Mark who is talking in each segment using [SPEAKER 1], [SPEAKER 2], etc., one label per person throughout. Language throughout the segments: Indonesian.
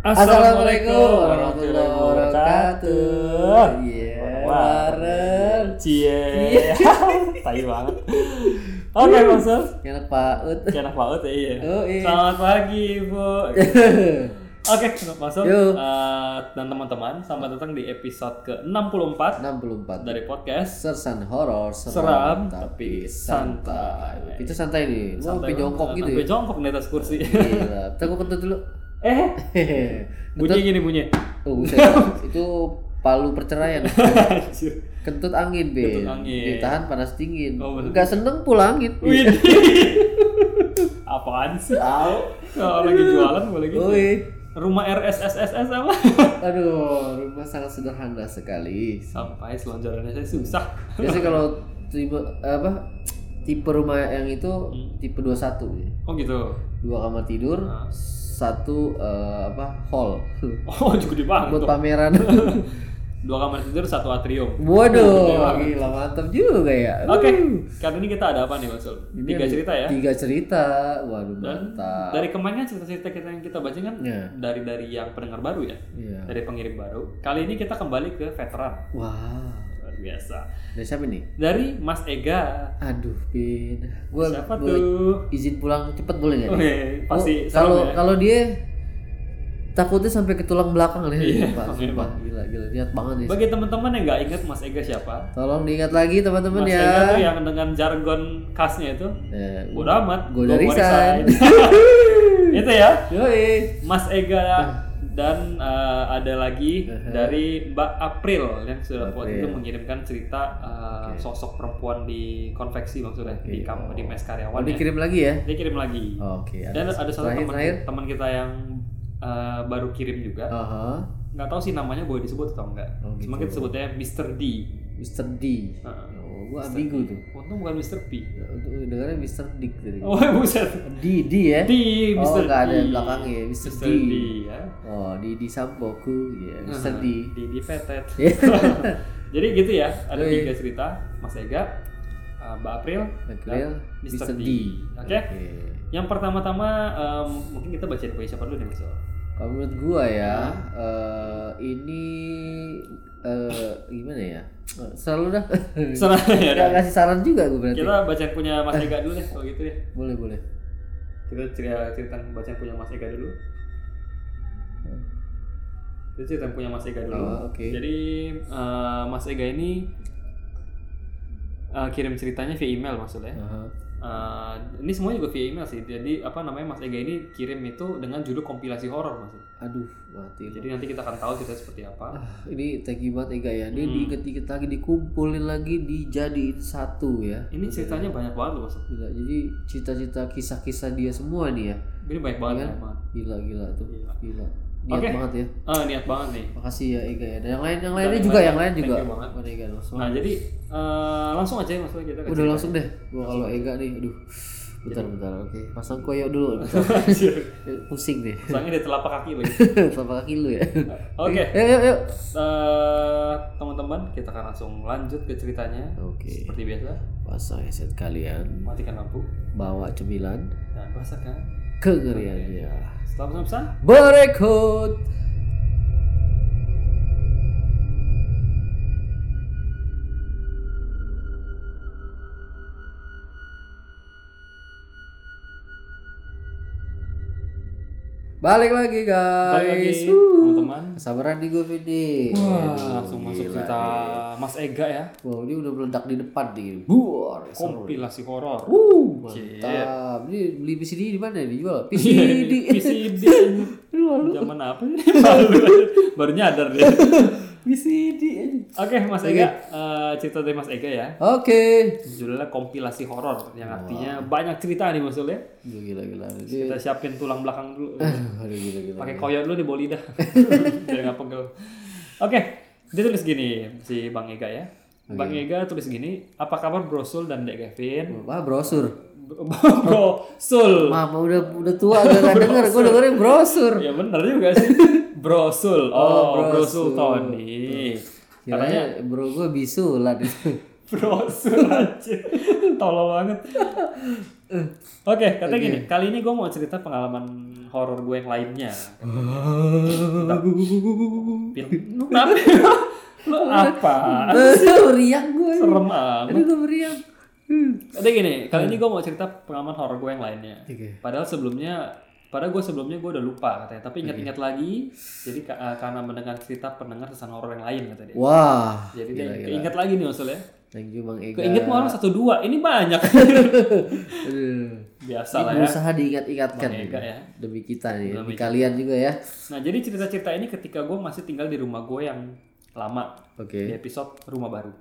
[SPEAKER 1] Assalamualaikum warahmatullahi wabarakatuh.
[SPEAKER 2] Iya, bareng.
[SPEAKER 1] Wareng. Cie. Iya. Tai banget. Oke, Bang Sul.
[SPEAKER 2] Enak Pak Ut.
[SPEAKER 1] Enak banget ya, iya.
[SPEAKER 2] Oh, iya.
[SPEAKER 1] Selamat pagi, Bu. Oke, Bang Sul.
[SPEAKER 2] Yuk.
[SPEAKER 1] Eh, dan teman-teman, selamat datang di episode ke-64
[SPEAKER 2] 64
[SPEAKER 1] dari podcast
[SPEAKER 2] Sersan horor
[SPEAKER 1] Seram tapi santai.
[SPEAKER 2] Itu santai nih. Mau
[SPEAKER 1] Sampai
[SPEAKER 2] sampai jongkok gitu
[SPEAKER 1] Sampai
[SPEAKER 2] ya. Iya.
[SPEAKER 1] jongkok di atas kursi.
[SPEAKER 2] Gila. Bentar gua kentut dulu.
[SPEAKER 1] eh, bunyi gini bunyi.
[SPEAKER 2] Tuh, buset. itu palu perceraian.
[SPEAKER 1] Anjir.
[SPEAKER 2] Kentut angin, Be.
[SPEAKER 1] Kentut angin.
[SPEAKER 2] Ditahan panas dingin.
[SPEAKER 1] Oh, bener.
[SPEAKER 2] Enggak seneng pulang angin. Iya.
[SPEAKER 1] Wih. Apaan sih?
[SPEAKER 2] Tahu.
[SPEAKER 1] Kalau lagi jualan boleh gitu.
[SPEAKER 2] Wih.
[SPEAKER 1] Rumah RSSSS apa?
[SPEAKER 2] Aduh, rumah sangat sederhana sekali.
[SPEAKER 1] Sampai selonjorannya saya susah.
[SPEAKER 2] Biasanya kalau tipe apa tipe rumah yang itu
[SPEAKER 1] Hmm.
[SPEAKER 2] tipe 21 ya.
[SPEAKER 1] Oh gitu.
[SPEAKER 2] Dua kamar tidur,
[SPEAKER 1] Nah.
[SPEAKER 2] satu eh, apa hall
[SPEAKER 1] Oh juga gede banget.
[SPEAKER 2] buat
[SPEAKER 1] tuh.
[SPEAKER 2] pameran.
[SPEAKER 1] Dua kamar tidur, satu atrium. Gede
[SPEAKER 2] Waduh,
[SPEAKER 1] banget.
[SPEAKER 2] gila mantap juga ya.
[SPEAKER 1] Oke, kali ini kita ada apa nih Mas Sul?
[SPEAKER 2] Ini
[SPEAKER 1] Tiga
[SPEAKER 2] ada
[SPEAKER 1] cerita ya.
[SPEAKER 2] Tiga cerita. Waduh
[SPEAKER 1] Dan
[SPEAKER 2] mantap.
[SPEAKER 1] dari kemarin kan cerita-cerita kita yang kita baca kan
[SPEAKER 2] Iya.
[SPEAKER 1] dari dari yang pendengar baru ya,
[SPEAKER 2] Iya.
[SPEAKER 1] dari pengirim baru. Kali ini kita kembali ke veteran
[SPEAKER 2] Wah,
[SPEAKER 1] luar biasa.
[SPEAKER 2] dari siapa nih?
[SPEAKER 1] Dari Mas Ega.
[SPEAKER 2] Aduh, Bin. Gua
[SPEAKER 1] Siapa
[SPEAKER 2] gua
[SPEAKER 1] tuh?
[SPEAKER 2] izin pulang cepet boleh nggak?
[SPEAKER 1] Oke,
[SPEAKER 2] nih?
[SPEAKER 1] pasti
[SPEAKER 2] Oh,
[SPEAKER 1] serem
[SPEAKER 2] kalau
[SPEAKER 1] ya.
[SPEAKER 2] kalau dia takutnya sampai ke tulang belakang nih,
[SPEAKER 1] Iya,
[SPEAKER 2] Pak.
[SPEAKER 1] iya,
[SPEAKER 2] Sumpah, gila, gila, niat banget nih.
[SPEAKER 1] Bagi teman-teman yang nggak ingat Mas Ega siapa,
[SPEAKER 2] Tolong diingat lagi teman-teman
[SPEAKER 1] Mas
[SPEAKER 2] ya.
[SPEAKER 1] Ega tuh yang dengan jargon khasnya itu
[SPEAKER 2] Eh,
[SPEAKER 1] Udah amat, gua
[SPEAKER 2] Gua udah
[SPEAKER 1] mau
[SPEAKER 2] resign.
[SPEAKER 1] resign. Itu ya,
[SPEAKER 2] Yoi.
[SPEAKER 1] Mas Ega ya.
[SPEAKER 2] Nah.
[SPEAKER 1] dan eh, ada lagi dari Mbak April yang sudah waktu itu
[SPEAKER 2] April.
[SPEAKER 1] mengirimkan cerita eh, sosok perempuan di konveksi maksudnya di
[SPEAKER 2] Oke.
[SPEAKER 1] kamp di mes
[SPEAKER 2] Mau
[SPEAKER 1] karyawan. ya.
[SPEAKER 2] dikirim lagi ya?
[SPEAKER 1] Dia kirim lagi.
[SPEAKER 2] Oke.
[SPEAKER 1] Dan ada satu
[SPEAKER 2] iya. terakhir,
[SPEAKER 1] teman
[SPEAKER 2] terakhir.
[SPEAKER 1] teman kita yang eh, baru kirim juga.
[SPEAKER 2] Aha.
[SPEAKER 1] Nggak tahu sih namanya boleh disebut atau enggak.
[SPEAKER 2] Oh, gitu.
[SPEAKER 1] Cuma kita sebutnya Mr. D.
[SPEAKER 2] Mr. D.
[SPEAKER 1] Heeh.
[SPEAKER 2] Oh, gua ambigu tuh.
[SPEAKER 1] Untung bukan Mr. P.
[SPEAKER 2] Untuk dengarnya Mr. Dick tadi.
[SPEAKER 1] Oh, buset.
[SPEAKER 2] D D ya.
[SPEAKER 1] D, Mr.
[SPEAKER 2] Oh, nggak ada
[SPEAKER 1] D.
[SPEAKER 2] belakangnya, Mr.
[SPEAKER 1] Mr.
[SPEAKER 2] D.
[SPEAKER 1] D, ya.
[SPEAKER 2] Oh, di di Sampoku ya, Mr. D.
[SPEAKER 1] di di petet
[SPEAKER 2] Iya. Oh,
[SPEAKER 1] jadi gitu ya ada
[SPEAKER 2] Yoi.
[SPEAKER 1] tiga cerita Mas Ega uh, Mbak April
[SPEAKER 2] April,
[SPEAKER 1] dan
[SPEAKER 2] Mr. D.
[SPEAKER 1] oke yang pertama-tama um, mungkin kita bacain puisi siapa dulu nih Mas Ega?
[SPEAKER 2] Kalau menurut gua ya, eh, ini eh, gimana ya? Eh, Selalu dah.
[SPEAKER 1] Serah, ya,
[SPEAKER 2] Nggak
[SPEAKER 1] udah.
[SPEAKER 2] kasih saran juga gua berarti.
[SPEAKER 1] kita bacain punya Mas Ega dulu deh kalau gitu ya
[SPEAKER 2] Boleh, boleh.
[SPEAKER 1] kita cerita cerita bacain punya Mas Ega dulu kita cerita punya Mas Ega dulu
[SPEAKER 2] Oh, oke.
[SPEAKER 1] jadi uh, Mas Ega ini uh, kirim ceritanya via email maksudnya
[SPEAKER 2] Aha.
[SPEAKER 1] Eh, ini semua juga via email sih. Jadi apa namanya Mas Ega ini kirim itu dengan judul kompilasi horor Mas.
[SPEAKER 2] Aduh, mati lu.
[SPEAKER 1] Jadi nanti kita akan tahu cerita seperti apa.
[SPEAKER 2] Ah, ini thank you banget Ega ya. Dia
[SPEAKER 1] Hmm.
[SPEAKER 2] diikat-ikat lagi, dikumpulin lagi, dijadiin satu ya.
[SPEAKER 1] Ini ceritanya banyak banget loh Mas.
[SPEAKER 2] Gila, jadi cita-cita kisah-kisah dia semua nih ya.
[SPEAKER 1] Ini banyak banget banyak banget.
[SPEAKER 2] Gila, gila tuh.
[SPEAKER 1] Gila.
[SPEAKER 2] Gila. Niat
[SPEAKER 1] Oke.
[SPEAKER 2] banget ya.
[SPEAKER 1] Ah, niat banget nih.
[SPEAKER 2] Makasih ya Ega ya. Dan yang lain, yang
[SPEAKER 1] Dan
[SPEAKER 2] lainnya
[SPEAKER 1] yang
[SPEAKER 2] juga,
[SPEAKER 1] lain, ya.
[SPEAKER 2] yang lain
[SPEAKER 1] thank
[SPEAKER 2] juga.
[SPEAKER 1] you banget.
[SPEAKER 2] Mana Ega langsung.
[SPEAKER 1] Nah jadi eh, langsung aja Mas Ega kita ke
[SPEAKER 2] Udah
[SPEAKER 1] cerita.
[SPEAKER 2] langsung deh. Gua kalau Ega nih, aduh.
[SPEAKER 1] Iya.
[SPEAKER 2] Bentar, bentar. Oke, pasang koyo dulu. bentar.
[SPEAKER 1] Anjir.
[SPEAKER 2] Pusing deh.
[SPEAKER 1] Soalnya dia telapak kaki lagi.
[SPEAKER 2] Telapak kaki lu ya.
[SPEAKER 1] Oke.
[SPEAKER 2] Yuk, yuk, yuk.
[SPEAKER 1] Eh, teman-teman kita akan langsung lanjut ke ceritanya.
[SPEAKER 2] Oke.
[SPEAKER 1] Seperti biasa
[SPEAKER 2] Pasang headset kalian,
[SPEAKER 1] matikan lampu
[SPEAKER 2] bawa cemilan,
[SPEAKER 1] dan rasakan.
[SPEAKER 2] kengeriannya.
[SPEAKER 1] Selamat sampai.
[SPEAKER 2] Berikut. Balik lagi guys.
[SPEAKER 1] Balik lagi
[SPEAKER 2] Wuh.
[SPEAKER 1] teman-teman.
[SPEAKER 2] Kesabaran nih gue Vindi.
[SPEAKER 1] Wah,
[SPEAKER 2] Aduh,
[SPEAKER 1] langsung masuk
[SPEAKER 2] gila
[SPEAKER 1] cerita Mas Ega ya.
[SPEAKER 2] nih. Wow, ini udah meledak di depan nih. Buar. seru.
[SPEAKER 1] Kompilasi horor.
[SPEAKER 2] Wuh,
[SPEAKER 1] Shit.
[SPEAKER 2] mantap. Ini beli PCD di mana ya? dijual?
[SPEAKER 1] Ini
[SPEAKER 2] PCD.
[SPEAKER 1] PCD. Zaman apa ini? Malu. Baru nyadar dia.
[SPEAKER 2] PCD. aja.
[SPEAKER 1] Oke, Mas Ega, eh, cerita dari Mas Ega ya.
[SPEAKER 2] Oke.
[SPEAKER 1] Judulnya kompilasi horor yang artinya banyak cerita nih maksudnya.
[SPEAKER 2] Gila gila gila. Ini-
[SPEAKER 1] Kita siapin tulang belakang dulu.
[SPEAKER 2] Aduh Iya. Ah, gila gila.
[SPEAKER 1] Pakai koyor dulu di bawah lidah. Biar nggak pegel. Oke, dia tulis gini si Bang Ega ya. Bang Ega tulis gini, apa kabar Bro Sul dan Dek Kevin?
[SPEAKER 2] Wah, brosur.
[SPEAKER 1] Bro Sul.
[SPEAKER 2] Mama udah udah tua gak gak denger, gue dengerin brosur.
[SPEAKER 1] Ya bener juga sih. Brosul. Oh, Brosul Tony.
[SPEAKER 2] Kiranya bro gue bisulan.
[SPEAKER 1] Brosul aja. Tolol banget. Oke, katanya gini. Kali ini gue mau cerita pengalaman horor gue yang lainnya.
[SPEAKER 2] Aduh,
[SPEAKER 1] Film, lu kenapa? lu apa?
[SPEAKER 2] riang gue.
[SPEAKER 1] Serem amat.
[SPEAKER 2] Aduh, gue meriang.
[SPEAKER 1] Ada gini, kali ini gue mau cerita pengalaman horor gue yang lainnya.
[SPEAKER 2] Oke.
[SPEAKER 1] Padahal sebelumnya, padahal gue sebelumnya gue udah lupa katanya. Tapi ingat-ingat lagi, jadi ka- eh, karena mendengar cerita pendengar kesan horor yang lain katanya.
[SPEAKER 2] Wah.
[SPEAKER 1] Jadi dia keinget lagi nih ya. maksudnya.
[SPEAKER 2] Thank you Bang Ega.
[SPEAKER 1] Keinget mau orang satu dua, ini banyak.
[SPEAKER 2] Aduh.
[SPEAKER 1] Biasa
[SPEAKER 2] Ini
[SPEAKER 1] lah ya.
[SPEAKER 2] berusaha diingat-ingatkan
[SPEAKER 1] Bang Ega
[SPEAKER 2] nih.
[SPEAKER 1] ya.
[SPEAKER 2] demi kita nih, demi kalian juga ya.
[SPEAKER 1] Nah jadi cerita-cerita ini ketika gue masih tinggal di rumah gue yang lama. Di
[SPEAKER 2] Oke.
[SPEAKER 1] episode rumah baru.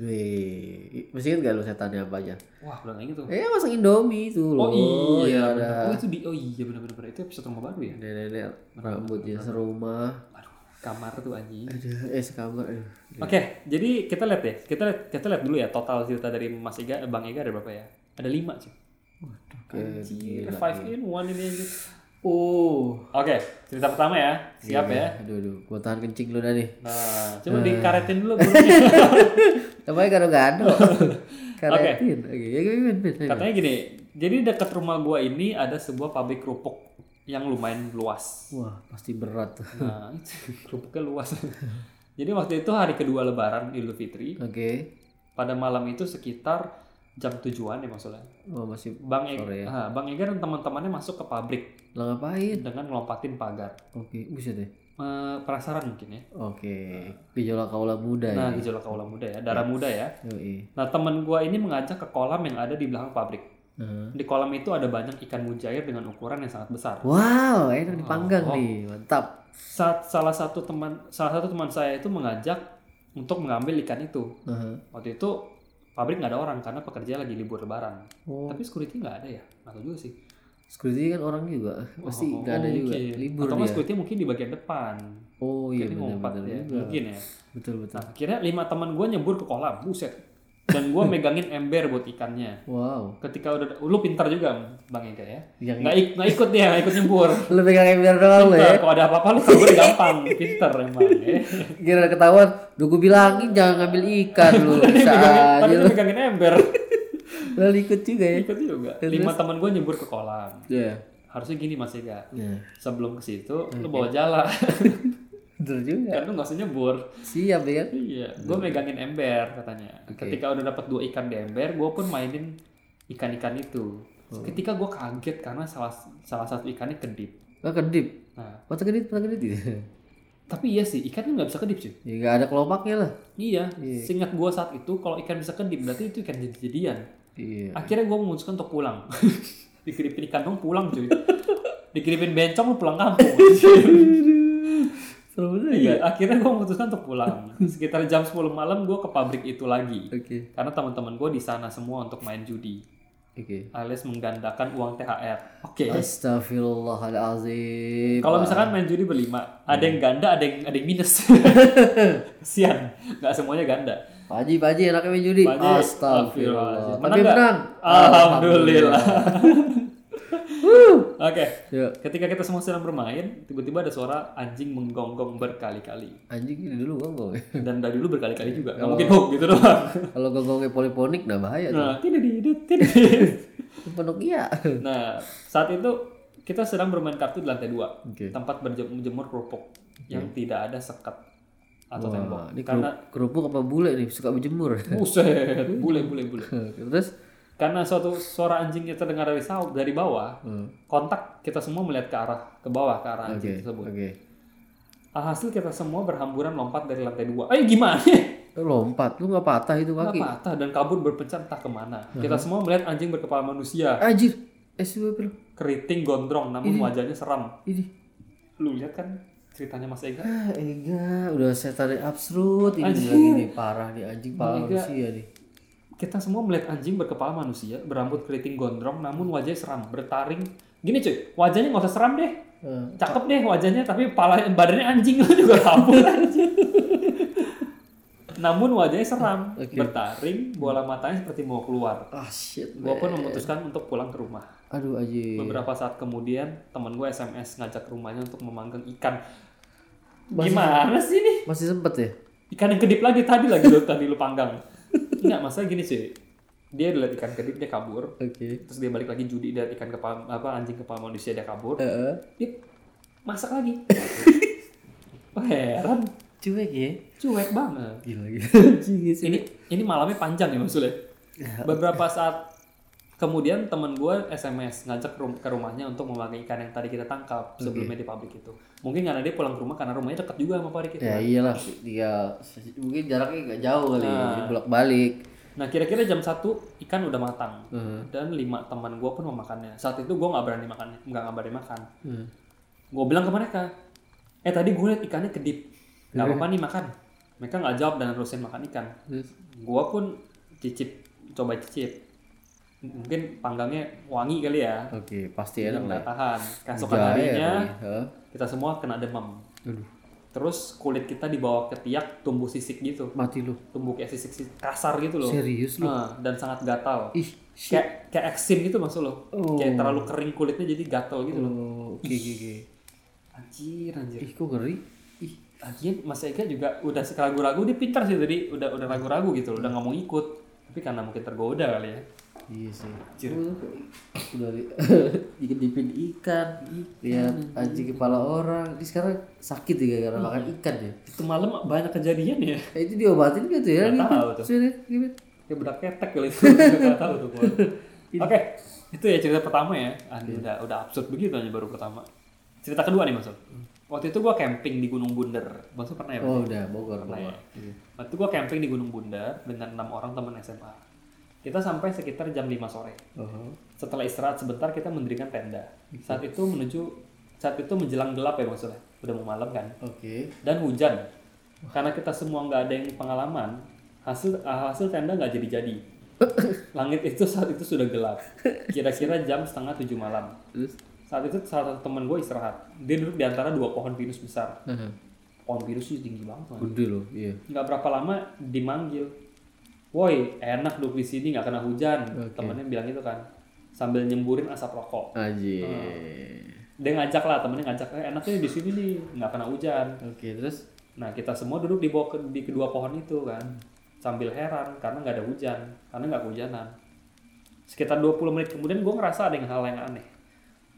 [SPEAKER 2] Wih, masih ingat gak lu setannya apa aja?
[SPEAKER 1] Wah belum inget tuh.
[SPEAKER 2] Eh, masak Indomie tuh loh.
[SPEAKER 1] Oh iya,
[SPEAKER 2] ada.
[SPEAKER 1] bener. oh itu di oh iya benar-benar itu episode rumah baru ya.
[SPEAKER 2] Nenek-nenek rambutnya serumah.
[SPEAKER 1] Aduh, kamar tuh anjing. Oke,
[SPEAKER 2] Aduh, eh sekamar. Aduh.
[SPEAKER 1] jadi kita lihat deh. Kita lihat kita lihat dulu ya total cerita dari Mas Ega, Bang Ega ada berapa ya? Ada lima sih.
[SPEAKER 2] Oke,
[SPEAKER 1] Ada five in one ini aja.
[SPEAKER 2] ya. Oh. Iya,
[SPEAKER 1] Oke, cerita pertama ya. Siap ya.
[SPEAKER 2] Aduh, aduh. Gua tahan kencing lu dah nih.
[SPEAKER 1] Nah, coba
[SPEAKER 2] Eh.
[SPEAKER 1] dikaretin dulu burungnya.
[SPEAKER 2] Tapi gado-gado. Karetin. Oke, ya gimana? gimana?
[SPEAKER 1] Katanya gini, jadi dekat rumah gua ini ada sebuah pabrik kerupuk yang lumayan luas.
[SPEAKER 2] Wah, pasti berat tuh.
[SPEAKER 1] Nah, itu, kerupuknya luas. Jadi waktu itu hari kedua lebaran Idul Fitri,
[SPEAKER 2] Oke.
[SPEAKER 1] pada malam itu sekitar jam tujuan ya maksudnya.
[SPEAKER 2] Wah, masih
[SPEAKER 1] Bang Ega,
[SPEAKER 2] Sore ya.
[SPEAKER 1] ah, Bang Ega dan teman-temannya masuk ke pabrik
[SPEAKER 2] lah ngapain?
[SPEAKER 1] dengan lompatin pagar.
[SPEAKER 2] Oke, buset ya.
[SPEAKER 1] Eh, penasaran mungkin ya.
[SPEAKER 2] Oke. Gejolak kaula muda ya.
[SPEAKER 1] Nah, gejolak kaula muda ya, darah muda ya.
[SPEAKER 2] Yoi.
[SPEAKER 1] Nah, teman gua ini mengajak ke kolam yang ada di belakang pabrik.
[SPEAKER 2] Nah.
[SPEAKER 1] Di kolam itu ada banyak ikan mujair dengan ukuran yang sangat besar.
[SPEAKER 2] Wow, enak dipanggang
[SPEAKER 1] Oh.
[SPEAKER 2] nih. Mantap.
[SPEAKER 1] Saat salah satu teman salah satu teman saya itu mengajak untuk mengambil ikan itu.
[SPEAKER 2] Aha.
[SPEAKER 1] Waktu itu pabrik nggak ada orang karena pekerja lagi libur lebaran.
[SPEAKER 2] Oh,
[SPEAKER 1] Tapi security nggak ada ya? Atau juga sih.
[SPEAKER 2] security kan orang juga. Pasti
[SPEAKER 1] Oh,
[SPEAKER 2] nggak ada juga.
[SPEAKER 1] mungkin.
[SPEAKER 2] Libur
[SPEAKER 1] Atau nggak
[SPEAKER 2] dia.
[SPEAKER 1] security mungkin di bagian depan.
[SPEAKER 2] Oh iya
[SPEAKER 1] Kayaknya
[SPEAKER 2] benar
[SPEAKER 1] ngumpat
[SPEAKER 2] benar
[SPEAKER 1] ya.
[SPEAKER 2] juga.
[SPEAKER 1] Mungkin ya.
[SPEAKER 2] Betul betul.
[SPEAKER 1] Nah, akhirnya lima teman gue nyebur ke kolam, buset. Dan gue megangin ember buat ikannya.
[SPEAKER 2] Wow.
[SPEAKER 1] Ketika udah, lu pintar juga Bang Ega ya.
[SPEAKER 2] Yang
[SPEAKER 1] Nggak, ik- nggak ikut dia, nggak ikut nyebur.
[SPEAKER 2] lu pegang ember doang lu
[SPEAKER 1] Pintar,
[SPEAKER 2] ya.
[SPEAKER 1] kalau ada apa-apa lu kabur gampang. Pintar emang ya.
[SPEAKER 2] Kira ketahuan, udah gue bilangin jangan ngambil ikan lu. Bisa aja
[SPEAKER 1] Tadi
[SPEAKER 2] lu.
[SPEAKER 1] lu megangin ember.
[SPEAKER 2] Lalu ikut juga ya.
[SPEAKER 1] ikut juga. Lima teman gue nyebur ke kolam.
[SPEAKER 2] Iya.
[SPEAKER 1] Harusnya gini Mas Ega.
[SPEAKER 2] Nah,
[SPEAKER 1] Sebelum ke situ, lu bawa jala.
[SPEAKER 2] betul juga.
[SPEAKER 1] Kan lu nggak usah nyebur.
[SPEAKER 2] Siap ya kan?
[SPEAKER 1] Iya, gue megangin ember katanya. Ketika udah dapat dua ikan di ember, gue pun mainin ikan-ikan itu. Ketika gue kaget karena salah salah satu ikannya kedip.
[SPEAKER 2] Gak kedip.
[SPEAKER 1] Nah,
[SPEAKER 2] Mata kedip, mata kedip gitu.
[SPEAKER 1] tapi iya sih, ikan tuh nggak bisa kedip sih.
[SPEAKER 2] Ya gak ada kelopaknya lah.
[SPEAKER 1] Iya, seingat gue saat itu kalau ikan bisa kedip berarti itu ikan jadi-jadian.
[SPEAKER 2] Iya.
[SPEAKER 1] Akhirnya gue memutuskan untuk pulang. Dikirim ikan dong pulang cuy. Dikirimin bencong lu pulang kampung.
[SPEAKER 2] Seru bener ya?
[SPEAKER 1] iya, akhirnya gue memutuskan untuk pulang. Sekitar jam 10 malam gue ke pabrik itu lagi.
[SPEAKER 2] Oke.
[SPEAKER 1] Karena teman-teman gue di sana semua untuk main judi.
[SPEAKER 2] Oke.
[SPEAKER 1] alias menggandakan uang THR. Oke.
[SPEAKER 2] Astagfirullahalazim.
[SPEAKER 1] Iya. Kalau misalkan main judi berlima, ada yang ganda, ada yang ada yang minus. Sian, nggak semuanya ganda.
[SPEAKER 2] Pak Haji, Pak Haji enaknya main judi.
[SPEAKER 1] Pak Haji, astagfirullahaladzim.
[SPEAKER 2] Astagfirullah. Tapi
[SPEAKER 1] Menang nggak?
[SPEAKER 2] menang.
[SPEAKER 1] Alhamdulillah.
[SPEAKER 2] Wuh.
[SPEAKER 1] Oke.
[SPEAKER 2] Yuk.
[SPEAKER 1] Ketika kita semua sedang bermain, tiba-tiba ada suara anjing menggonggong berkali-kali.
[SPEAKER 2] Anjing ini dulu gonggong.
[SPEAKER 1] Dan dari dulu berkali-kali juga. Nggak mungkin hook gitu doang.
[SPEAKER 2] Kalau gonggongnya poliponik nah bahaya tuh.
[SPEAKER 1] Nah, tidak tidak.
[SPEAKER 2] Penuk iya.
[SPEAKER 1] Nah, saat itu kita sedang bermain kartu di lantai dua.
[SPEAKER 2] Oke.
[SPEAKER 1] tempat berjem- menjemur kerupuk yang tidak ada sekat atau tembok.
[SPEAKER 2] Wah, ini kerup-
[SPEAKER 1] Karena
[SPEAKER 2] kerupuk apa bule nih suka berjemur.
[SPEAKER 1] buset, bule bule bule.
[SPEAKER 2] Terus
[SPEAKER 1] Karena suatu suara anjingnya terdengar dari sau- dari bawah,
[SPEAKER 2] Hmm.
[SPEAKER 1] kontak kita semua melihat ke arah ke bawah ke arah anjing
[SPEAKER 2] Oke.
[SPEAKER 1] tersebut.
[SPEAKER 2] Oke.
[SPEAKER 1] Alhasil kita semua berhamburan lompat dari lantai dua. Eh gimana?
[SPEAKER 2] Lu Lompat, lu nggak patah itu
[SPEAKER 1] Nggak
[SPEAKER 2] kaki?
[SPEAKER 1] patah dan kabur berpecah entah kemana. Kita semua melihat anjing berkepala manusia,
[SPEAKER 2] Anjir, SWP lu.
[SPEAKER 1] keriting gondrong, namun wajahnya seram.
[SPEAKER 2] Ini.
[SPEAKER 1] Lu lihat kan ceritanya Mas Ega?
[SPEAKER 2] Ah, Ega, udah setan yang absurd ini
[SPEAKER 1] Anjir.
[SPEAKER 2] lagi nih parah nih anjing
[SPEAKER 1] Ega.
[SPEAKER 2] parah manusia nih.
[SPEAKER 1] Kita semua melihat anjing berkepala manusia, berambut keriting gondrong, namun wajahnya seram, bertaring. Gini cuy, wajahnya nggak usah seram deh.
[SPEAKER 2] Eh,
[SPEAKER 1] Cakep deh wajahnya, tapi kepala badannya anjing lu juga kabur anjing. namun wajahnya seram,
[SPEAKER 2] Oke.
[SPEAKER 1] bertaring, bola matanya seperti mau keluar.
[SPEAKER 2] Ah shit.
[SPEAKER 1] Gue pun
[SPEAKER 2] man.
[SPEAKER 1] memutuskan untuk pulang ke rumah.
[SPEAKER 2] Aduh anjir.
[SPEAKER 1] Beberapa saat kemudian, teman gue SMS ngajak ke rumahnya untuk memanggang ikan.
[SPEAKER 2] Masih-
[SPEAKER 1] Gimana sih ini?
[SPEAKER 2] Masih sempet ya?
[SPEAKER 1] Ikan yang kedip lagi tadi lagi lu tadi lu panggang. Enggak, masa gini sih. dia lihat ikan kedip dia kabur
[SPEAKER 2] Oke.
[SPEAKER 1] terus dia balik lagi judi dia lihat ikan kepala apa anjing kepala manusia dia kabur
[SPEAKER 2] Heeh.
[SPEAKER 1] dia masak lagi Wah, heran
[SPEAKER 2] Cuek ya.
[SPEAKER 1] cuek banget
[SPEAKER 2] Gila gila.
[SPEAKER 1] ini ini malamnya panjang ya maksudnya beberapa saat kemudian teman gue sms ngajak rum- ke rumahnya untuk memakai ikan yang tadi kita tangkap sebelumnya di pabrik itu mungkin karena dia pulang ke rumah karena rumahnya dekat juga sama pabrik itu
[SPEAKER 2] ya iyalah dia mungkin jaraknya nggak jauh kali ya. bolak balik
[SPEAKER 1] nah kira-kira jam 1 ikan udah matang
[SPEAKER 2] Hmm.
[SPEAKER 1] dan lima teman gue pun memakannya saat itu gue nggak berani makan nggak ngabarin makan gue bilang ke mereka eh tadi gue liat ikannya kedip nggak
[SPEAKER 2] Iya.
[SPEAKER 1] apa-apa nih makan mereka nggak jawab dan terusin makan ikan gua pun cicip coba cicip mungkin panggangnya wangi kali ya
[SPEAKER 2] oke pasti
[SPEAKER 1] Jadi
[SPEAKER 2] Iya, enak lah
[SPEAKER 1] nggak tahan keesokan
[SPEAKER 2] Jahe
[SPEAKER 1] harinya
[SPEAKER 2] kali. Hah?
[SPEAKER 1] kita semua kena demam
[SPEAKER 2] Aduh.
[SPEAKER 1] terus kulit kita dibawa ke tiak tumbuh sisik gitu
[SPEAKER 2] mati lu
[SPEAKER 1] tumbuh kayak sisik-sisik kasar gitu loh
[SPEAKER 2] serius lu
[SPEAKER 1] Nah, dan sangat gatal
[SPEAKER 2] ih shit
[SPEAKER 1] kayak kayak eksim gitu maksud lo
[SPEAKER 2] Oh.
[SPEAKER 1] kayak terlalu kering kulitnya jadi gatal gitu loh
[SPEAKER 2] Oh, oke oke oke
[SPEAKER 1] Oh. anjir anjir
[SPEAKER 2] ih kok ngeri ih
[SPEAKER 1] lagian Mas Ega juga udah sekali ragu-ragu dia pintar sih tadi udah udah ragu-ragu gitu loh udah nggak mau ikut tapi karena mungkin tergoda kali ya
[SPEAKER 2] iya sih
[SPEAKER 1] Anjir.
[SPEAKER 2] Lu kayak- dari dipin ikan lihat anjing kepala orang ini sekarang sakit ya karena makan ikan ya
[SPEAKER 1] itu malam banyak kejadian ya
[SPEAKER 2] Eh, itu diobatin gitu ya
[SPEAKER 1] Nggak
[SPEAKER 2] gitu.
[SPEAKER 1] tahu tuh.
[SPEAKER 2] Serius, gitu.
[SPEAKER 1] Kayak bedak ketek kali itu. Gak tahu tuh gua. Oke, itu ya cerita pertama ya. Anjir, udah udah absurd begitu aja baru pertama. Cerita kedua nih maksud. Waktu itu gua camping di Gunung Bunder. Maksud pernah ya? Mas?
[SPEAKER 2] oh udah Bogor
[SPEAKER 1] Pernah ya.
[SPEAKER 2] Bogor Iya.
[SPEAKER 1] Waktu itu gua camping di Gunung Bunder dengan enam orang teman SMA. Kita sampai sekitar jam 5 sore.
[SPEAKER 2] Oh,
[SPEAKER 1] Setelah istirahat sebentar kita mendirikan tenda. Saat itu menuju saat itu menjelang gelap ya maksudnya. Udah mau malam kan.
[SPEAKER 2] Oke.
[SPEAKER 1] dan hujan. Karena kita semua nggak ada yang pengalaman, hasil ah, hasil tenda nggak jadi-jadi. Langit itu saat itu sudah gelap. Kira-kira jam setengah tujuh malam.
[SPEAKER 2] Terus?
[SPEAKER 1] Saat itu salah satu teman gue istirahat. Dia duduk di antara dua pohon pinus besar. Pohon pinus itu tinggi banget. man.
[SPEAKER 2] Gede loh, iya.
[SPEAKER 1] Nggak berapa lama dimanggil. Woi, enak duduk di sini nggak kena hujan. Temennya bilang gitu kan. Sambil nyemburin asap rokok.
[SPEAKER 2] Anjir. Ah.
[SPEAKER 1] Dia ngajak lah temennya ngajak, eh, enaknya di sini nih nggak kena hujan.
[SPEAKER 2] Oke, terus?
[SPEAKER 1] Nah kita semua duduk di bawah ke- di kedua pohon itu kan sambil heran karena nggak ada hujan karena nggak kehujanan. Sekitar 20 menit kemudian gue ngerasa ada yang hal yang aneh.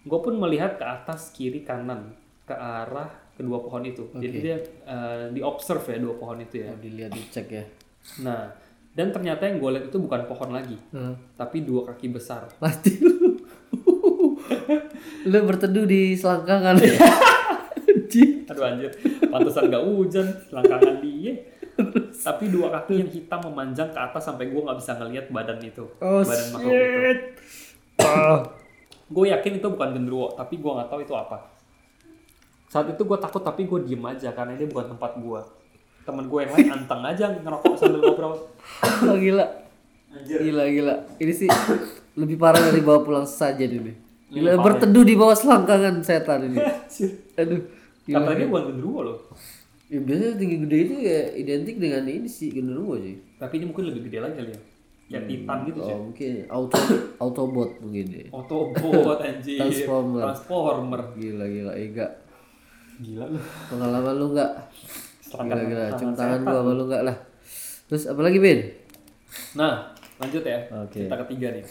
[SPEAKER 1] Gue pun melihat ke atas kiri kanan ke arah kedua pohon itu. Jadi dia eh, di observe ya dua pohon itu ya.
[SPEAKER 2] Mau dilihat dicek ya.
[SPEAKER 1] Nah dan ternyata yang gue lihat itu bukan pohon lagi
[SPEAKER 2] Heeh.
[SPEAKER 1] tapi dua kaki besar.
[SPEAKER 2] Mati lu. lu berteduh di selangkangan. Anjir.
[SPEAKER 1] Aduh anjir, pantesan nggak hujan, selangkangan dia. Tapi dua kaki yang hitam memanjang ke atas sampai gue nggak bisa ngelihat badan itu,
[SPEAKER 2] Oh,
[SPEAKER 1] badan makhluk itu.
[SPEAKER 2] shit. Ah.
[SPEAKER 1] Gue yakin itu bukan genderuwo, tapi gue nggak tahu itu apa. Saat itu gue takut tapi gue diem aja karena ini bukan tempat gue. Temen gue yang lain anteng aja ngerokok sambil ngobrol.
[SPEAKER 2] Oh, gila.
[SPEAKER 1] Anjir.
[SPEAKER 2] Gila, gila. Ini sih lebih parah dari bawa pulang saja ini.
[SPEAKER 1] Iya,
[SPEAKER 2] Gila,
[SPEAKER 1] parah.
[SPEAKER 2] berteduh di bawah selangkangan setan ini. Aduh.
[SPEAKER 1] Iya,
[SPEAKER 2] Gila.
[SPEAKER 1] Katanya bukan genderuwo loh,
[SPEAKER 2] Ya, biasanya tinggi gede itu ya identik dengan ini sih genderuwo sih.
[SPEAKER 1] tapi ini mungkin lebih gede lagi kali ya. Ya titan gitu sih.
[SPEAKER 2] Oh, mungkin auto autobot mungkin ya.
[SPEAKER 1] Autobot anjir.
[SPEAKER 2] Transformer.
[SPEAKER 1] Transformer.
[SPEAKER 2] Gila gila Ega.
[SPEAKER 1] Gila lu.
[SPEAKER 2] Pengalaman lu enggak?
[SPEAKER 1] Selangkangan
[SPEAKER 2] Gila gila
[SPEAKER 1] tangan
[SPEAKER 2] cium tangan gua sama lu enggak lah. Terus apa lagi, Bin?
[SPEAKER 1] Nah, lanjut ya.
[SPEAKER 2] Oke.
[SPEAKER 1] Cerita ketiga nih.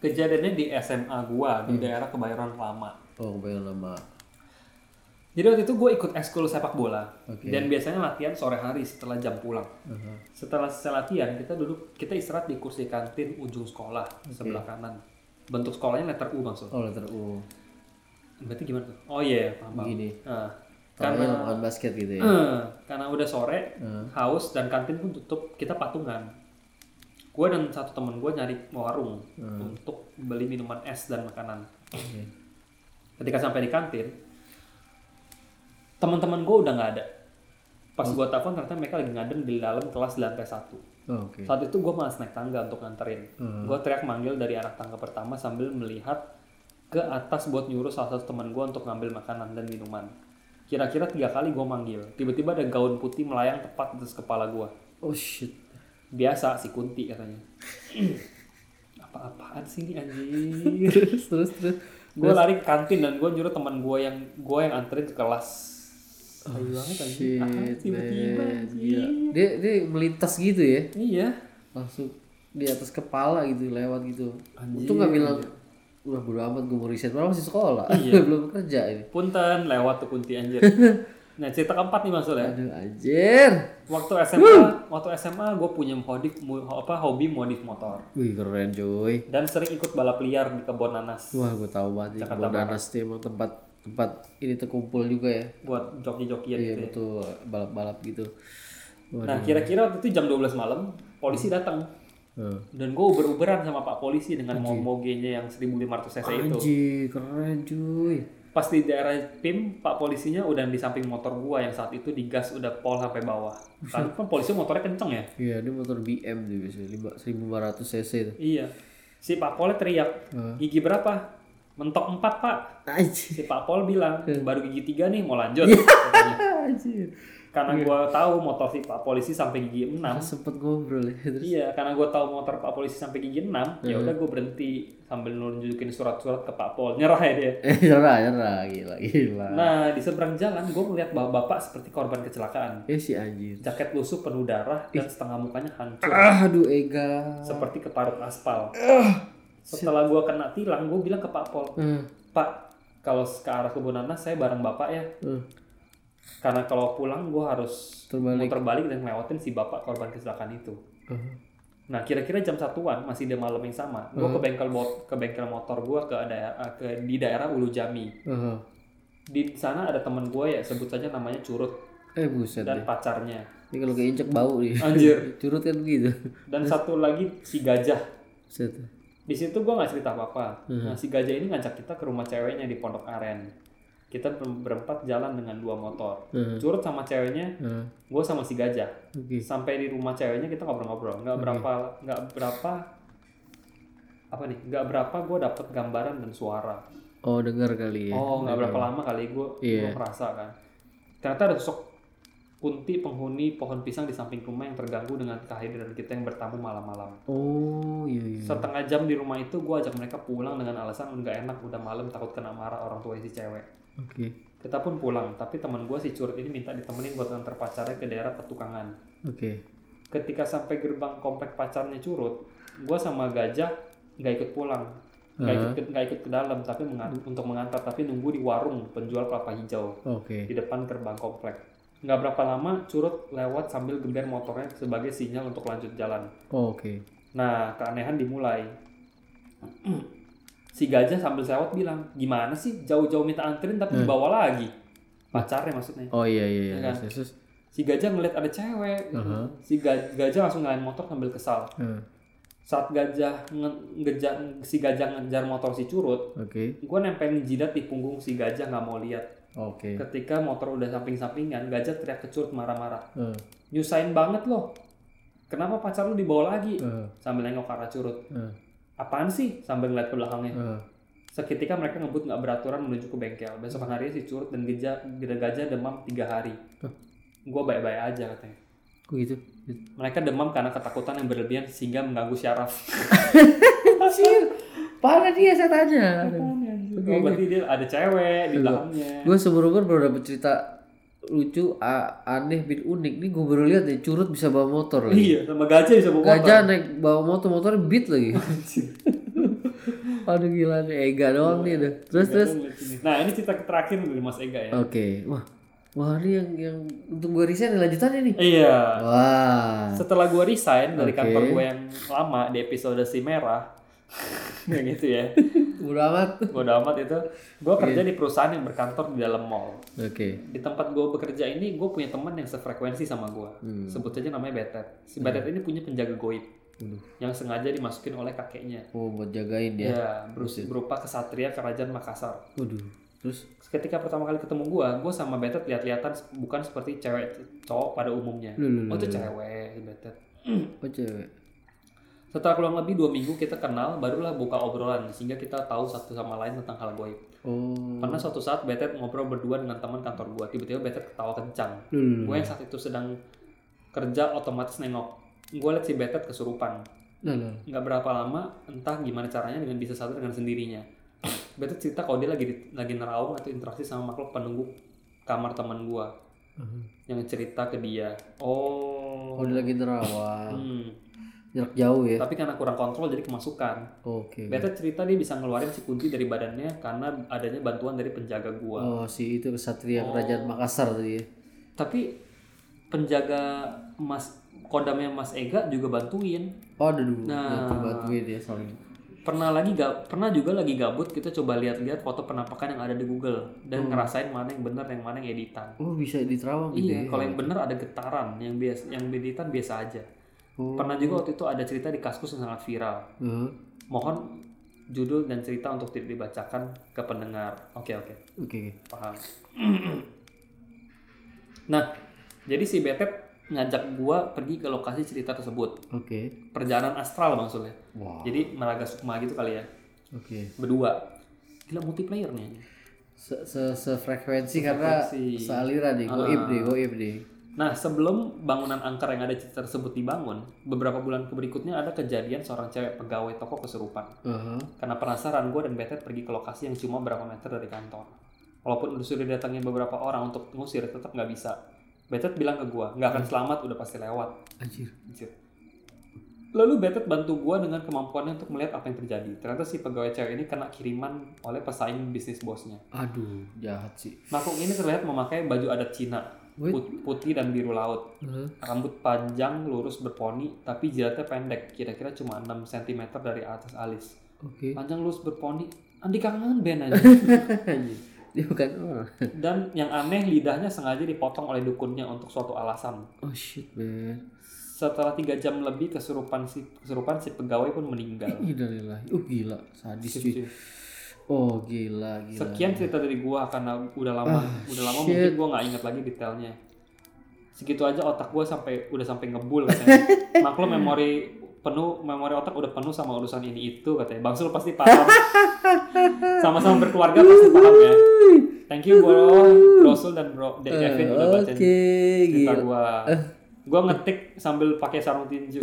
[SPEAKER 1] Kejadiannya di SMA gua
[SPEAKER 2] Hmm.
[SPEAKER 1] di daerah Kebayoran Lama.
[SPEAKER 2] Oh, kebayang lama.
[SPEAKER 1] Jadi waktu itu gue ikut eskul sepak bola
[SPEAKER 2] Oke.
[SPEAKER 1] dan biasanya latihan sore hari setelah jam pulang.
[SPEAKER 2] Aha.
[SPEAKER 1] Setelah selesai latihan kita duduk kita istirahat di kursi kantin ujung sekolah sebelah kanan. Bentuk sekolahnya letter U maksud.
[SPEAKER 2] Oh, letter U.
[SPEAKER 1] Berarti gimana tuh? Oh iya, paham paham.
[SPEAKER 2] Begini.
[SPEAKER 1] Nah,
[SPEAKER 2] Karena
[SPEAKER 1] karena
[SPEAKER 2] lapangan basket gitu ya.
[SPEAKER 1] Eh, karena udah sore, haus dan kantin pun tutup, kita patungan. Gue dan satu temen gue nyari warung untuk beli minuman es dan makanan.
[SPEAKER 2] Oke.
[SPEAKER 1] Ketika sampai di kantin, teman-teman gue udah nggak ada. Pas gue telepon ternyata mereka lagi ngadem di dalam kelas di lantai satu.
[SPEAKER 2] Oh, Oke.
[SPEAKER 1] Saat itu gue malas naik tangga untuk nganterin.
[SPEAKER 2] Hmm.
[SPEAKER 1] Gue teriak manggil dari anak tangga pertama sambil melihat ke atas buat nyuruh salah satu teman gue untuk ngambil makanan dan minuman. Kira-kira tiga kali gue manggil. Tiba-tiba ada gaun putih melayang tepat atas kepala gue.
[SPEAKER 2] Oh shit.
[SPEAKER 1] Biasa si Kunti katanya. Apa-apaan sih ini anjir.
[SPEAKER 2] terus terus terus.
[SPEAKER 1] gue lari ke kantin dan gue nyuruh teman gue yang gue yang anterin ke kelas. Tai banget anjir.
[SPEAKER 2] Oh, Shit.
[SPEAKER 1] Apaan tiba-tiba
[SPEAKER 2] man. Iya.
[SPEAKER 1] anjir.
[SPEAKER 2] Gila. Dia dia melintas gitu ya.
[SPEAKER 1] Iya.
[SPEAKER 2] Langsung di atas kepala gitu lewat gitu untung nggak bilang udah bodo amat gue mau riset malah masih sekolah belum kerja ini
[SPEAKER 1] Punten lewat tuh kunti anjir. Nah cerita keempat nih maksudnya.
[SPEAKER 2] aduh anjir
[SPEAKER 1] Waktu SMA, waktu SMA gue punya modif, mo- apa hobi modif motor
[SPEAKER 2] wih keren cuy
[SPEAKER 1] dan sering ikut balap liar di kebun nanas
[SPEAKER 2] wah gue tahu banget nih Kebun Nanas tuh emang tempat tempat ini terkumpul juga ya
[SPEAKER 1] buat joki-jokian gitu.
[SPEAKER 2] iya
[SPEAKER 1] ya.
[SPEAKER 2] betul balap-balap gitu Waduh.
[SPEAKER 1] Nah kira-kira waktu itu jam 12 malam polisi datang
[SPEAKER 2] Eh.
[SPEAKER 1] dan gue uber-uberan sama pak polisi dengan mogenya yang 1500 cc itu.
[SPEAKER 2] Anjir, keren cuy.
[SPEAKER 1] Pas di daerah PIM, pak polisinya udah di samping motor gua yang saat itu digas udah pol sampai bawah. Karena kan polisi motornya kenceng ya.
[SPEAKER 2] Iya, ini motor BM tuh biasanya, lima- 1500 cc tuh.
[SPEAKER 1] Iya. Si Pak Polnya teriak, gigi berapa? Mentok 4 Pak.
[SPEAKER 2] Anjir.
[SPEAKER 1] Si Pak Pol bilang,
[SPEAKER 2] Iya.
[SPEAKER 1] baru gigi 3 nih mau lanjut. katanya.
[SPEAKER 2] Anjir.
[SPEAKER 1] karena
[SPEAKER 2] Iya.
[SPEAKER 1] gua tahu motor si Pak Polisi sampai gigi 6.
[SPEAKER 2] sempet ngobrol ya. Terus
[SPEAKER 1] Iya, karena gua tahu motor Pak Polisi sampai gigi 6, ya udah gua berhenti sambil nunjukin surat-surat ke Pak Pol. Nyerah ya dia.
[SPEAKER 2] eh nyerah, nyerah, gila, gila.
[SPEAKER 1] Nah, di seberang jalan gua melihat bapak-bapak seperti korban kecelakaan.
[SPEAKER 2] Eh si anjir.
[SPEAKER 1] Jaket lusuh penuh darah dan setengah mukanya hancur.
[SPEAKER 2] Ah, aduh Ega.
[SPEAKER 1] seperti keparut aspal. Setelah gua kena tilang, gua bilang ke Pak Pol,
[SPEAKER 2] Hmm.
[SPEAKER 1] Pak, kalau ke arah kebun nanas saya bareng bapak ya.
[SPEAKER 2] Hmm.
[SPEAKER 1] Karena kalau pulang gua harus
[SPEAKER 2] Terbalik.
[SPEAKER 1] muter balik dan ngelewatin si bapak korban kecelakaan itu.
[SPEAKER 2] eh,
[SPEAKER 1] Nah, kira-kira jam satuan masih dia malam yang sama. Gua
[SPEAKER 2] Hmm.
[SPEAKER 1] ke bengkel bot- ke bengkel motor gua ke daerah eh, ke di daerah Ulu Jami.
[SPEAKER 2] Ah.
[SPEAKER 1] Di sana ada teman gua ya sebut saja namanya Curut
[SPEAKER 2] Eh buset
[SPEAKER 1] dan
[SPEAKER 2] deh.
[SPEAKER 1] pacarnya.
[SPEAKER 2] Ini kalau keinjek bau nih.
[SPEAKER 1] Anjir.
[SPEAKER 2] Curut kan gitu.
[SPEAKER 1] Dan satu lagi si Gajah.
[SPEAKER 2] Buset.
[SPEAKER 1] di situ gue nggak cerita apa-apa.
[SPEAKER 2] Hmm.
[SPEAKER 1] Nah, si gajah ini ngajak kita ke rumah ceweknya di Pondok Aren. Kita ber- berempat jalan dengan dua motor.
[SPEAKER 2] Hmm.
[SPEAKER 1] Curut sama ceweknya,
[SPEAKER 2] Ah,
[SPEAKER 1] gue sama si gajah.
[SPEAKER 2] Oke.
[SPEAKER 1] Sampai di rumah ceweknya kita ngobrol-ngobrol.
[SPEAKER 2] Hmm.
[SPEAKER 1] Nggak berapa, nggak berapa apa nih? Nggak berapa gue dapet gambaran dan suara.
[SPEAKER 2] Oh, dengar kali ya.
[SPEAKER 1] Oh, nggak berapa lama kali gue
[SPEAKER 2] Iya.
[SPEAKER 1] merasa kan. Ternyata ada sosok kunti penghuni pohon pisang di samping rumah yang terganggu dengan kehadiran kita yang bertamu malam-malam.
[SPEAKER 2] Oh, iya iya.
[SPEAKER 1] Setengah jam di rumah itu gue ajak mereka pulang dengan alasan nggak enak udah malam takut kena marah orang tua si cewek.
[SPEAKER 2] Oke.
[SPEAKER 1] Kita pun pulang, tapi teman gue si curut ini minta ditemenin buat nganter pacarnya ke daerah petukangan.
[SPEAKER 2] Oke.
[SPEAKER 1] Ketika sampai gerbang komplek pacarnya curut, gue sama gajah nggak ikut pulang, nggak ikut ke- nggak ikut ke dalam, tapi mengan- untuk mengantar, tapi nunggu di warung penjual kelapa hijau
[SPEAKER 2] Oke.
[SPEAKER 1] di depan gerbang komplek. Nggak berapa lama, curut lewat sambil geber motornya sebagai sinyal untuk lanjut jalan.
[SPEAKER 2] Oh, Oke.
[SPEAKER 1] Nah, keanehan dimulai. si gajah sambil sewot bilang, gimana sih jauh-jauh minta anterin tapi dibawa lagi? Pacarnya maksudnya.
[SPEAKER 2] Oh iya iya.
[SPEAKER 1] Iya
[SPEAKER 2] iya.
[SPEAKER 1] kan?
[SPEAKER 2] Terus.
[SPEAKER 1] Si gajah ngeliat ada cewek.
[SPEAKER 2] Aha.
[SPEAKER 1] Si ga- gajah langsung ngalahin motor sambil kesal.
[SPEAKER 2] Ah,
[SPEAKER 1] Saat gajah nge- ngeja- si gajah ngejar motor si curut,
[SPEAKER 2] Oke.
[SPEAKER 1] gue nempelin jidat di punggung si gajah nggak mau lihat.
[SPEAKER 2] Oke.
[SPEAKER 1] Ketika motor udah samping-sampingan, gajah teriak ke curut marah-marah.
[SPEAKER 2] Ah,
[SPEAKER 1] Nyusahin banget loh. Kenapa pacar lu dibawa lagi?
[SPEAKER 2] ah,
[SPEAKER 1] Sambil nengok ke arah curut.
[SPEAKER 2] ah,
[SPEAKER 1] apaan sih sambil ngeliat ke belakangnya
[SPEAKER 2] ah.
[SPEAKER 1] seketika mereka ngebut nggak beraturan menuju ke bengkel besokan harinya si curut dan geja, geda gajah demam tiga hari
[SPEAKER 2] Huh.
[SPEAKER 1] gue baik-baik aja katanya
[SPEAKER 2] Kok gitu?
[SPEAKER 1] mereka demam karena ketakutan yang berlebihan sehingga mengganggu syaraf
[SPEAKER 2] Parah dia saya tanya.
[SPEAKER 1] oh, berarti dia ada cewek
[SPEAKER 2] Iya.
[SPEAKER 1] di belakangnya
[SPEAKER 2] Gue seumur umur baru dapet cerita lucu, a- aneh, bin unik. Nih gue baru lihat nih curut bisa bawa motor lagi.
[SPEAKER 1] iya sama gajah bisa bawa motor
[SPEAKER 2] Gajah naik bawa motor, motor beat lagi. Aduh gila nih, Ega doang nih udah. Terus terus.
[SPEAKER 1] Ngeliat sini. nah ini cerita terakhir dari Mas Ega ya
[SPEAKER 2] Oke, wah, wah ini yang yang untuk gue resign nih, lanjutannya nih.
[SPEAKER 1] iya
[SPEAKER 2] Wah,
[SPEAKER 1] setelah gue resign dari
[SPEAKER 2] Oke.
[SPEAKER 1] kantor gue yang lama di episode si merah yang gitu ya
[SPEAKER 2] bodo amat.
[SPEAKER 1] bodo amat itu gue kerja
[SPEAKER 2] Iya.
[SPEAKER 1] di perusahaan yang berkantor di dalam mall
[SPEAKER 2] Oke,
[SPEAKER 1] di tempat gue bekerja ini gue punya teman yang sefrekuensi sama gue
[SPEAKER 2] Hmm.
[SPEAKER 1] sebut saja namanya Betet si Betet ini punya penjaga goib
[SPEAKER 2] Waduh.
[SPEAKER 1] yang sengaja dimasukin oleh kakeknya
[SPEAKER 2] oh buat jagain
[SPEAKER 1] ya,
[SPEAKER 2] dia.
[SPEAKER 1] berus- berupa kesatria kerajaan Makassar
[SPEAKER 2] Waduh, terus
[SPEAKER 1] ketika pertama kali ketemu gue gue sama Betet lihat-lihatan se- bukan seperti cewek cowok pada umumnya
[SPEAKER 2] Lu, lu, lu,
[SPEAKER 1] oh itu cewek si Betet
[SPEAKER 2] apa cewek?
[SPEAKER 1] setelah kurang lebih dua minggu kita kenal barulah buka obrolan sehingga kita tahu satu sama lain tentang hal goib
[SPEAKER 2] Oh,
[SPEAKER 1] Karena suatu saat Betet ngobrol berdua dengan teman kantor gua, tiba-tiba Betet ketawa kencang.
[SPEAKER 2] Lu, lu, lu.
[SPEAKER 1] Gue yang saat itu sedang kerja otomatis nengok. Gue liat si Betet kesurupan.
[SPEAKER 2] Lah, lah.
[SPEAKER 1] Nggak berapa lama, entah gimana caranya dengan bisa satu dengan sendirinya. Betet cerita kalau dia lagi di- lagi nerawang atau interaksi sama makhluk penunggu kamar teman gua yang cerita ke dia. Oh,
[SPEAKER 2] Oh, dia lagi nerawang.
[SPEAKER 1] hmm.
[SPEAKER 2] jarak jauh ya
[SPEAKER 1] Tapi karena kurang kontrol jadi kemasukan.
[SPEAKER 2] oke
[SPEAKER 1] Beta cerita dia bisa ngeluarin si kunci dari badannya karena adanya bantuan dari penjaga gua. Oh.
[SPEAKER 2] oh si itu kesatria kerajaan Makassar tadi ya
[SPEAKER 1] Tapi penjaga Mas kodamnya Mas Ega juga bantuin.
[SPEAKER 2] oh ada dulu
[SPEAKER 1] Nah.
[SPEAKER 2] nah. bantuin ya soalnya
[SPEAKER 1] Pernah lagi ga, pernah juga lagi gabut kita coba lihat-lihat foto penampakan yang ada di Google dan ngerasain mana yang benar yang mana yang editan.
[SPEAKER 2] Hmm. oh bisa di Terawang gitu
[SPEAKER 1] Iya, kalau yang benar ada getaran, yang biasa yang editan biasa aja.
[SPEAKER 2] Oh.
[SPEAKER 1] Pernah juga waktu itu ada cerita di Kaskus yang sangat viral.
[SPEAKER 2] Heeh.
[SPEAKER 1] Mohon judul dan cerita untuk tidak dibacakan ke pendengar. Oke, oke.
[SPEAKER 2] oke oke.
[SPEAKER 1] paham. nah, jadi si Betep ngajak gua pergi ke lokasi cerita tersebut.
[SPEAKER 2] oke
[SPEAKER 1] Perjalanan astral maksudnya.
[SPEAKER 2] Wah.
[SPEAKER 1] Jadi meraga sukma gitu kali ya.
[SPEAKER 2] oke
[SPEAKER 1] Berdua. Gila multiplayer nih.
[SPEAKER 2] se se sefrekuensi karena
[SPEAKER 1] Sefrekuensi. Ah.
[SPEAKER 2] sealiran nih goib deh goib deh
[SPEAKER 1] Nah, sebelum bangunan angker yang ada cerita tersebut dibangun, beberapa bulan berikutnya ada kejadian seorang cewek pegawai toko kesurupan.
[SPEAKER 2] Heeh.
[SPEAKER 1] Karena penasaran, gue dan Betet pergi ke lokasi yang cuma berapa meter dari kantor. Walaupun udah sudah datangin beberapa orang untuk ngusir, tetap nggak bisa. Betet bilang ke gue, nggak akan selamat, udah pasti lewat.
[SPEAKER 2] anjir
[SPEAKER 1] Anjir. Lalu Betet bantu gue dengan kemampuannya untuk melihat apa yang terjadi. Ternyata si pegawai cewek ini kena kiriman oleh pesaing bisnis bosnya.
[SPEAKER 2] aduh jahat sih
[SPEAKER 1] Makhluk ini terlihat memakai baju adat Cina,
[SPEAKER 2] Wait.
[SPEAKER 1] put- putih dan biru laut.
[SPEAKER 2] Heeh.
[SPEAKER 1] Rambut panjang, lurus, berponi, tapi jidatnya pendek, kira-kira cuma 6 cm dari atas alis.
[SPEAKER 2] oke
[SPEAKER 1] Panjang, lurus, berponi, Andi kangen band aja.
[SPEAKER 2] Anjir. dia bukan oh. orang
[SPEAKER 1] Dan yang aneh, lidahnya sengaja dipotong oleh dukunnya untuk suatu alasan.
[SPEAKER 2] oh shit man
[SPEAKER 1] Setelah tiga jam lebih, kesurupan si, kesurupan si pegawai pun meninggal.
[SPEAKER 2] Innalillahi. Uh gila, sadis
[SPEAKER 1] Sip,
[SPEAKER 2] cuy.
[SPEAKER 1] sip.
[SPEAKER 2] Oh gila gila.
[SPEAKER 1] Sekian cerita dari gua karena udah lama, udah lama mungkin
[SPEAKER 2] shit.
[SPEAKER 1] gua nggak ingat lagi detailnya. Segitu aja otak gua sampai udah sampai ngebul katanya. Maklum memori penuh memori otak udah penuh sama urusan ini itu katanya. Bang Sul pasti paham. Sama-sama berkeluarga pasti paham ya. Thank you bro, bro Sul dan bro Dek Kevin udah
[SPEAKER 2] Eh, Oke,
[SPEAKER 1] bacain cerita
[SPEAKER 2] gila.
[SPEAKER 1] gua. Gua ngetik sambil pakai sarung tinju.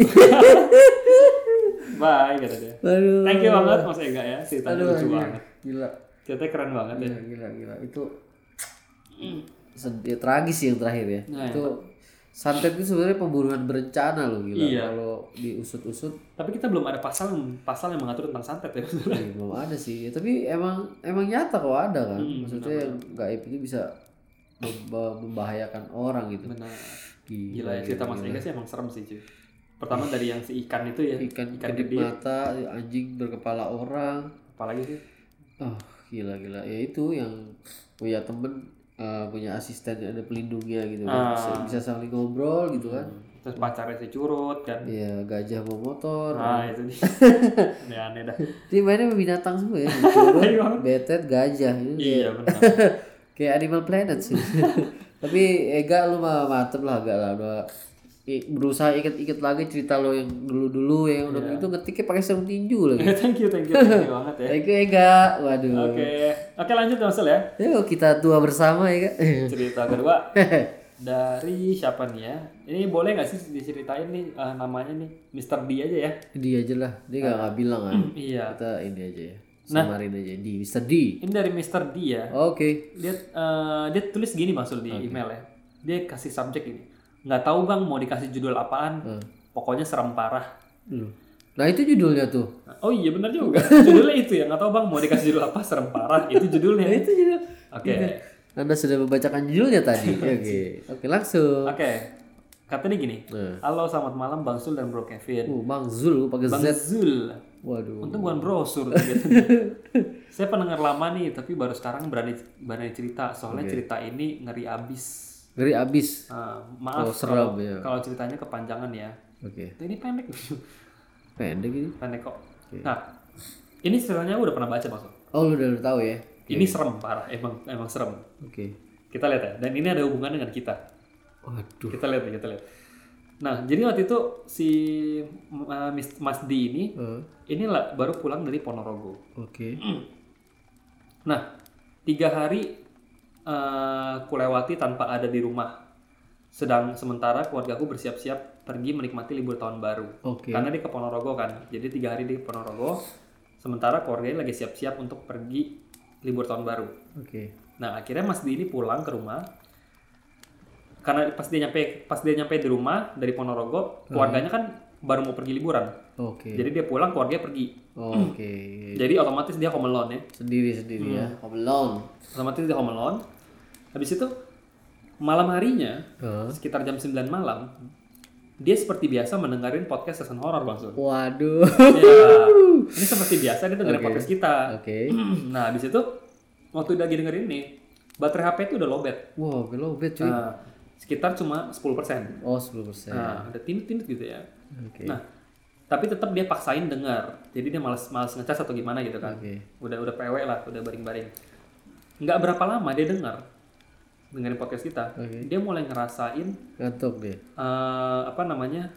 [SPEAKER 1] Bye kata dia.
[SPEAKER 2] Aduh.
[SPEAKER 1] Thank you banget Mas Ega ya, ceritanya
[SPEAKER 2] Aduh, iya.
[SPEAKER 1] lucu
[SPEAKER 2] anjir.
[SPEAKER 1] banget.
[SPEAKER 2] Gila.
[SPEAKER 1] Ceritanya keren banget ya.
[SPEAKER 2] Gila, gila, gila. Itu sedih tragis sih yang terakhir ya.
[SPEAKER 1] Nah,
[SPEAKER 2] itu santet itu sebenarnya pembunuhan berencana loh gila.
[SPEAKER 1] Iya.
[SPEAKER 2] Kalau diusut-usut
[SPEAKER 1] Tapi kita belum ada pasal pasal yang mengatur tentang santet ya.
[SPEAKER 2] ya, belum ada sih. Ya, tapi emang emang nyata kalau ada kan.
[SPEAKER 1] Hmm,
[SPEAKER 2] Maksudnya yang
[SPEAKER 1] ya?
[SPEAKER 2] gaib ini bisa mem- membahayakan orang gitu.
[SPEAKER 1] Benar.
[SPEAKER 2] Gila.
[SPEAKER 1] Nah, Gila ya cerita Mas Ega sih emang serem sih cuy. Pertama dari yang si ikan itu ya,
[SPEAKER 2] Ikan,
[SPEAKER 1] ikan
[SPEAKER 2] kedip
[SPEAKER 1] gede,
[SPEAKER 2] mata, anjing berkepala orang.
[SPEAKER 1] apalagi sih?
[SPEAKER 2] Oh, gila gila. Ya itu yang punya temen eh, punya asisten ada pelindungnya gitu
[SPEAKER 1] Ah.
[SPEAKER 2] kan. Bisa, bisa saling ngobrol gitu kan.
[SPEAKER 1] Terus pacarnya si curut kan.
[SPEAKER 2] Ya gajah bawa motor.
[SPEAKER 1] Nah, itu nih. aneh aneh dah.
[SPEAKER 2] Jadi mainnya sama binatang semua ya. Curut, betet, gajah. Ini
[SPEAKER 1] Iya benar.
[SPEAKER 2] Kayak Animal Planet sih. Tapi Ega lu mah mantep lah agak lah. Udah i- berusaha ikat-ikat lagi cerita lo yang dulu-dulu yang udah itu ngetiknya pakai sarung tinju lagi.
[SPEAKER 1] thank you, thank you, thank you banget ya.
[SPEAKER 2] Ega Ega,
[SPEAKER 1] Oke.
[SPEAKER 2] waduh.
[SPEAKER 1] Oke, lanjut Mas Sul ya.
[SPEAKER 2] Yuk kita tua bersama ya kan.
[SPEAKER 1] Cerita kedua dari siapa nih ya? Ini boleh nggak sih diceritain nih eh, namanya nih Mr. D aja ya?
[SPEAKER 2] dia aja lah dia nggak nggak bilang kan
[SPEAKER 1] Iya.
[SPEAKER 2] kita ini aja ya samarin aja di Mr. D
[SPEAKER 1] Ini dari Mr. D ya.
[SPEAKER 2] oke
[SPEAKER 1] dia eh, dia tulis gini maksud di email ya dia kasih subjek ini nggak tahu bang mau dikasih judul apaan pokoknya serem parah
[SPEAKER 2] Loh. nah itu judulnya tuh
[SPEAKER 1] oh iya benar juga judulnya itu ya nggak tahu bang mau dikasih judul apa serem parah Nah, itu Iya. judulnya
[SPEAKER 2] itu judul
[SPEAKER 1] oke
[SPEAKER 2] anda sudah membacakan judulnya tadi oke oke langsung
[SPEAKER 1] oke katanya gini
[SPEAKER 2] Nah.
[SPEAKER 1] halo selamat malam bang Sul dan Bro Kevin
[SPEAKER 2] uh, Bang Zul pakai Z
[SPEAKER 1] bang Zul
[SPEAKER 2] waduh
[SPEAKER 1] untung bukan brosur tuh gitu. saya pendengar lama nih tapi baru sekarang berani berani cerita soalnya cerita ini ngeri abis
[SPEAKER 2] ngeri abis
[SPEAKER 1] Ah, maaf
[SPEAKER 2] Oh, serem,
[SPEAKER 1] kalau-
[SPEAKER 2] ya.
[SPEAKER 1] kalau ceritanya kepanjangan ya
[SPEAKER 2] oke
[SPEAKER 1] Ini pendek.
[SPEAKER 2] pendek ini
[SPEAKER 1] pendek kok. Nah, ini ceritanya gue udah pernah baca maksud.
[SPEAKER 2] oh lu udah udah tahu ya
[SPEAKER 1] Ini serem parah, emang emang serem.
[SPEAKER 2] oke
[SPEAKER 1] Kita lihat ya. Dan ini ada hubungan dengan kita.
[SPEAKER 2] waduh
[SPEAKER 1] Kita lihat ya, kita lihat. Nah, jadi waktu itu si uh, Mis- Mas D ini
[SPEAKER 2] Eh,
[SPEAKER 1] ini la- baru pulang dari Ponorogo.
[SPEAKER 2] oke
[SPEAKER 1] Nah, tiga hari eh, kulewati tanpa ada di rumah. Sedang sementara keluarga aku bersiap-siap pergi menikmati libur tahun baru.
[SPEAKER 2] oke
[SPEAKER 1] Karena dia ke Ponorogo kan, jadi tiga hari di Ponorogo. Sementara keluarganya lagi siap-siap untuk pergi libur tahun baru.
[SPEAKER 2] oke
[SPEAKER 1] Nah akhirnya Mas Dini pulang ke rumah. Karena pas dia nyampe pas dia nyampe di rumah dari Ponorogo, keluarganya kan baru mau pergi liburan.
[SPEAKER 2] Hmm. Oke.
[SPEAKER 1] Jadi dia pulang keluarganya pergi.
[SPEAKER 2] Oke.
[SPEAKER 1] Jadi otomatis dia home alone ya.
[SPEAKER 2] Sendiri sendiri ya.
[SPEAKER 1] Hmm.
[SPEAKER 2] Home alone.
[SPEAKER 1] Otomatis dia home alone. Habis itu malam harinya
[SPEAKER 2] Heeh.
[SPEAKER 1] sekitar jam 9 malam dia seperti biasa mendengarin podcast season horor Bang Sun.
[SPEAKER 2] Waduh.
[SPEAKER 1] Ya, ini seperti biasa dia dengerin
[SPEAKER 2] Oke.
[SPEAKER 1] podcast kita.
[SPEAKER 2] Oke.
[SPEAKER 1] nah, habis itu waktu udah lagi dengerin ini, baterai HP itu udah lobet.
[SPEAKER 2] Wow, gelobet cuy.
[SPEAKER 1] Nah, sekitar cuma 10%.
[SPEAKER 2] Oh, 10%. persen
[SPEAKER 1] Nah, udah tinut-tinut gitu ya.
[SPEAKER 2] Oke.
[SPEAKER 1] Nah, tapi tetap dia paksain dengar. Jadi dia malas malas ngecas atau gimana gitu kan.
[SPEAKER 2] Oke.
[SPEAKER 1] Udah udah PW lah, udah baring-baring. Nggak berapa lama dia dengar dengerin podcast kita.
[SPEAKER 2] Oke.
[SPEAKER 1] Dia mulai ngerasain
[SPEAKER 2] Ngantuk deh.
[SPEAKER 1] eh, apa namanya?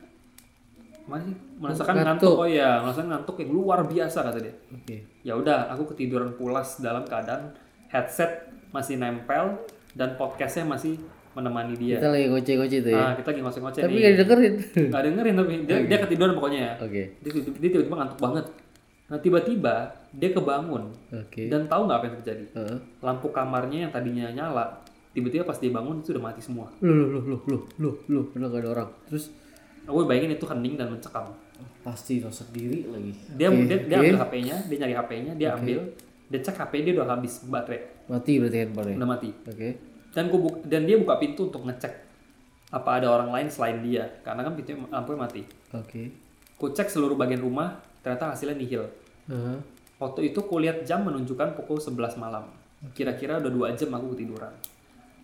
[SPEAKER 1] Mana sih? Merasakan
[SPEAKER 2] Ngantuk.
[SPEAKER 1] ngantuk. Oh iya, merasakan ngantuk yang luar biasa kata dia.
[SPEAKER 2] Oke.
[SPEAKER 1] Ya udah, aku ketiduran pulas dalam keadaan headset masih nempel dan podcastnya masih menemani dia.
[SPEAKER 2] Kita lagi ngoceh-ngoceh tuh ya.
[SPEAKER 1] Nah, kita lagi ngoceh-ngoceh
[SPEAKER 2] Tapi gitu.
[SPEAKER 1] nih.
[SPEAKER 2] gak didengerin.
[SPEAKER 1] Nggak dengerin tapi dia, dia ketiduran pokoknya ya.
[SPEAKER 2] Oke.
[SPEAKER 1] Dia tiba- dia tiba-tiba ngantuk banget. Nah tiba-tiba dia kebangun
[SPEAKER 2] Oke.
[SPEAKER 1] dan tahu nggak apa yang terjadi?
[SPEAKER 2] Heeh.
[SPEAKER 1] Lampu kamarnya yang tadinya nyala, tiba-tiba pas dia bangun itu udah mati semua.
[SPEAKER 2] Loh, loh, loh, loh, loh, loh, loh. Bener gak ada orang. Terus
[SPEAKER 1] Aku bayangin itu hening dan mencekam.
[SPEAKER 2] pasti lo sendiri lagi.
[SPEAKER 1] Dia dia, dia ambil HP-nya, dia nyari HP-nya, dia ambil, dia cek HP dia udah habis baterai,
[SPEAKER 2] Mati berarti handphone
[SPEAKER 1] udah mati.
[SPEAKER 2] Oke.
[SPEAKER 1] Dan gua bu- dan dia buka pintu untuk ngecek apa ada orang lain selain dia, karena kan pintunya lampunya mati.
[SPEAKER 2] Oke.
[SPEAKER 1] Ku cek seluruh bagian rumah, ternyata hasilnya nihil.
[SPEAKER 2] Heeh.
[SPEAKER 1] Waktu itu kulihat jam menunjukkan pukul 11 malam. Kira-kira udah dua jam aku ketiduran.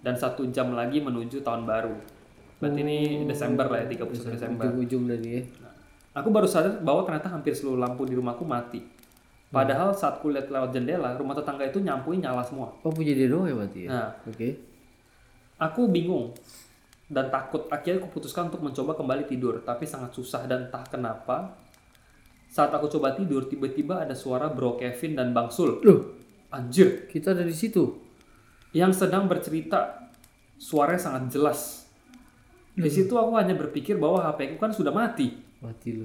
[SPEAKER 1] Dan satu jam lagi menuju tahun baru. Berarti ini Desember lah ya, 31 Desember.
[SPEAKER 2] Ujung-ujung dari ya.
[SPEAKER 1] Aku baru sadar bahwa ternyata hampir seluruh lampu di rumahku mati. Padahal saat kulihat lewat jendela, rumah tetangga itu nyampuin nyala semua.
[SPEAKER 2] Oh punya dia doang ya mati ya?
[SPEAKER 1] Nah,
[SPEAKER 2] Oke.
[SPEAKER 1] aku bingung dan takut. Akhirnya aku putuskan untuk mencoba kembali tidur, tapi sangat susah dan entah kenapa. Saat aku coba tidur, tiba-tiba ada suara Bro Kevin dan Bang Sul.
[SPEAKER 2] Loh,
[SPEAKER 1] Anjir,
[SPEAKER 2] kita ada di situ.
[SPEAKER 1] yang sedang bercerita suaranya sangat jelas di situ aku hanya berpikir bahwa HP aku kan sudah mati
[SPEAKER 2] Mati lu.